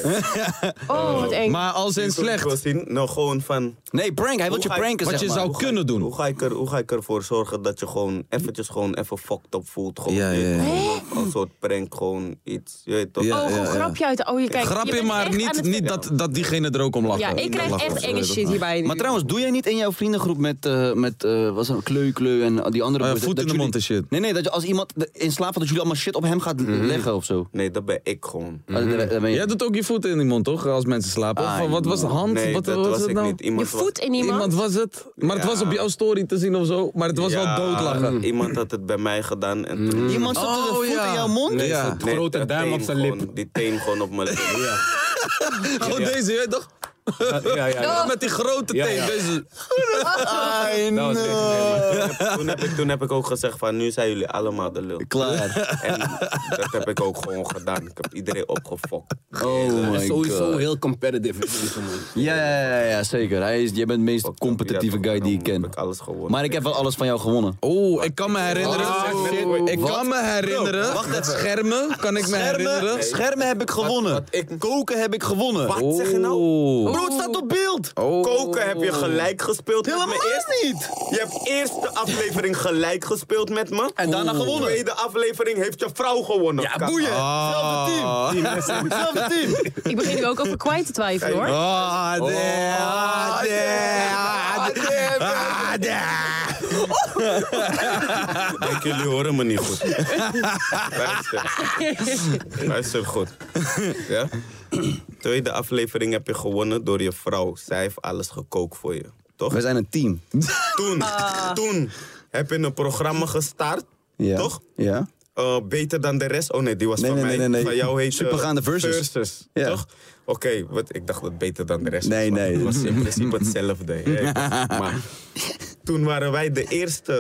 Oh, wat eng.
Maar als in
Wat ik wil
slecht.
zien, nou gewoon van...
Nee, prank. Hij wil je
Hoe ga ik-
pranken,
Oh, Wat
zeg
je
maar.
zou kunnen
Hoe
doen.
ga, ik er, hoe ga ik ervoor zorgen dat je gewoon eventjes gewoon even fucked up voelt? Gewoon
Ja, ja, ja.
Een soort prank, gewoon iets. Je weet toch?
Ja,
Oh, gewoon grapje uit de... Oh, je kijkt. je
Grapje,
bent
maar
echt aan
niet,
het-
niet dat, dat diegene er ook om lacht.
Ja, ik krijg echt enge shit hierbij nu.
Maar trouwens, doe jij niet in jouw vriendengroep met, eh met eh was het, Kleu, Kleu en die andere...
Eh,
boys,
voet
dat
in de
jullie-
mond en shit.
Nee, nee, dat je als iemand de- in slaap valt, dat jullie allemaal shit op hem
Mhm.
gaat leggen of zo.
Nee, dat ben ik gewoon.
Ah, dat- dat- dat ben je-
Jij doet ook je voeten in die mond, toch? Als mensen slapen.
Ah,
Of wat was de hand?
Nee,
wat
dat
wat
was
het
ik
nou?
niet. Iemand
Je voet in iemand.
Iemand was het. Maar het was op jouw story te zien of zo. Maar het was
Ja,
wel doodlachen.
Iemand had het bij mij gedaan en toen...
Mm. Iemand zat de
Oh,
voet
ja.
in jouw mond?
Nee,
Ja.
zo'n grote
dat
duim
teen
op zijn lip.
gewoon- Die teen gewoon op mijn lip.
Gewoon Oh, deze, je weet toch?
Ja, ja, ja. ja.
Met die grote
Ja,
teen.
ja.
Deze. Nou,
Dat was niks, nee, maar-
toen, heb ik, toen heb ik ook gezegd van, nu zijn jullie allemaal de lul.
Klaar.
En dat heb ik ook gewoon gedaan. Ik heb iedereen opgefokt.
Oh
Het is
my
sowieso
god.
heel competitive. in deze man.
Ja, ja, ja, ja, zeker. Hij is, jij bent de meest competitieve guy die ik
Heb
ken.
ik alles gewonnen.
Maar ik heb wel alles van jou gewonnen.
Oh, ik kan me herinneren. ik kan me herinneren.
Ah, Bro, wacht even.
Schermen kan ik me herinneren.
Schermen, schermen heb ik gewonnen. Koken heb ik gewonnen.
Wat zeg je nou?
Oh.
Bro, het staat op beeld.
Koken heb je gelijk gespeeld met me eerst.
Oh. niet.
Je hebt eerst de aflevering gelijk gespeeld met me.
En daarna gewonnen.
tweede aflevering heeft je vrouw gewonnen. Oh. Ja,
Boeien. Zelfde team.
Ah.
Zelfde team.
Ik begin nu ook over kwijt te twijfelen hoor.
Oh,
Ah, damn. Ah, damn. Ah, damn.
Denk jullie horen me niet goed. Luister. Luister goed. Ja? Tweede aflevering heb je gewonnen door je vrouw. Zij heeft alles gekookt voor je. Toch?
We zijn een team.
Toen, toen heb je een programma gestart,
Ja.
toch?
Ja.
Eh, beter dan de rest. Oh nee, die was
Nee,
van
nee,
mij.
nee, nee, nee.
Van jou heet eh,
Supergaande versus. Ja.
Toch? Oké, wat ik dacht dat beter dan de rest.
Nee,
was, maar
nee.
Het was in principe hetzelfde. hè. maar toen waren wij de eerste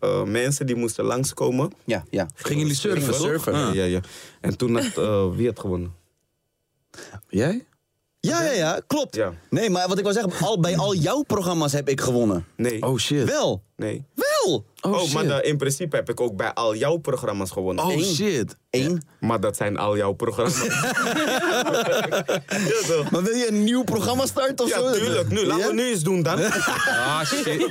eh, mensen die moesten langskomen.
Ja, ja.
Gingen jullie surfen,
Gingen we
toch?
surfen.
Ah.
Ja, ja. En toen had eh, wie had gewonnen?
Jij?
Ja, ja, ja, klopt.
Ja.
Nee, maar wat ik wil zeggen, al, bij al jouw programma's heb ik gewonnen.
Nee.
Oh shit.
Wel,
Nee.
wel!
Oh, maar
shit.
de- in principe heb ik ook bij al jouw programma's gewonnen.
Oh
Eén.
shit.
Eén.
Maar dat zijn al jouw programma's. ja, zo.
Oh,
Maar wil je een nieuw programma starten of zo?
Ja, tuurlijk. Nu, laten we nu eens doen dan.
Ah shit.
laten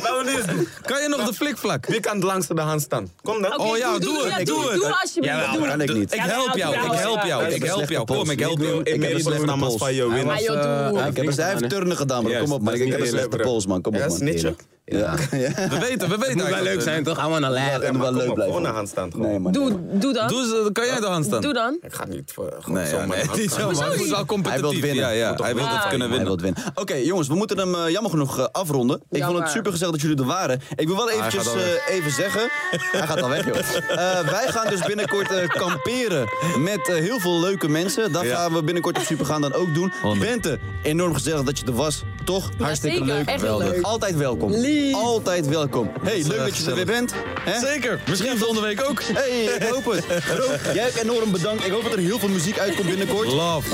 we nu eens doen.
Kan je nog de flikvlak?
Wie kan het langste de hand staan? Kom dan.
Oh ja, doe het,
ja,
doe het.
Doe alsjeblieft,
Jawel,
doe
kan ik niet.
Ik
Ja,
help
ja,
jou,
ja,
ik
ja.
help jou,
Hij is
ik
een
help
slechte
jou. Kom,
post.
ik help
Ik wil
jou. Ik heb een
inmiddels
slechte
programma's
pols.
van je
Hij
winnen.
was,
Ah, joh,
eh,
doe.
Ja, ik heb
Juist,
eens vijf turnen gedaan, maar
dat
kom op, man.
is
Ik
niet
heb een
eerlijk,
slechte
bro.
pols, man. Kom op,
Ja,
man.
snitchen.
Ja, ja.
We weten, we weten.
Het moet wel leuk zijn, toch? I wanna laugh.
Ja,
moet
maar
wel
kom
leuk
op,
blijven.
Gewoon de hand staan. gewoon.
Nee, man. nee, man.
Doe, doe dan.
Doe eens, eh, kan jij de hand staan?
Doe dan.
Ik ga niet voor gewoon
Nee, ja,
zomaar
nee,
de hand
niet
staan.
zo, maar het is wel competitief.
Hij wil winnen.
Ja, ja, hij wil het
winnen.
kunnen
Hij
winnen.
wil winnen. Oké, jongens, we moeten hem eh, jammer genoeg eh, afronden. Ik vond het
Jammer.
super gezellig dat jullie er waren. Ik wil wel eventjes
gaat al weg.
eh, even zeggen. hij gaat al weg, joh. Eh, wij gaan dus binnenkort eh, kamperen met eh, heel veel leuke mensen. Dat gaan we binnenkort op Supergaan dan ook doen. Bente, enorm gezellig dat je er was. Toch? Hartstikke
zeker. Echt
leuk.
heel
Geweldig.
leuk.
Altijd welkom.
Lief.
Altijd welkom. Hey, leuk dat je er weer bent. Hè?
Zeker, misschien volgende week ook.
Hey, ik hoop het. Rob, jij ook enorm bedankt. Ik hoop dat er heel veel muziek uitkomt binnenkort.
Love,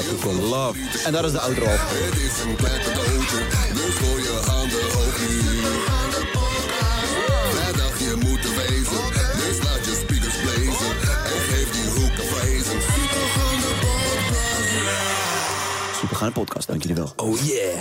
love.
En daar is de outro al.
Het is een klapperdootje, dus voor je handen ook hier. Vrijdag je moet er wezen, dus laat je speakers blazen. En geef die hoek een vrezen. Super
Supergaan podcast, dank jullie wel.
Oh yeah.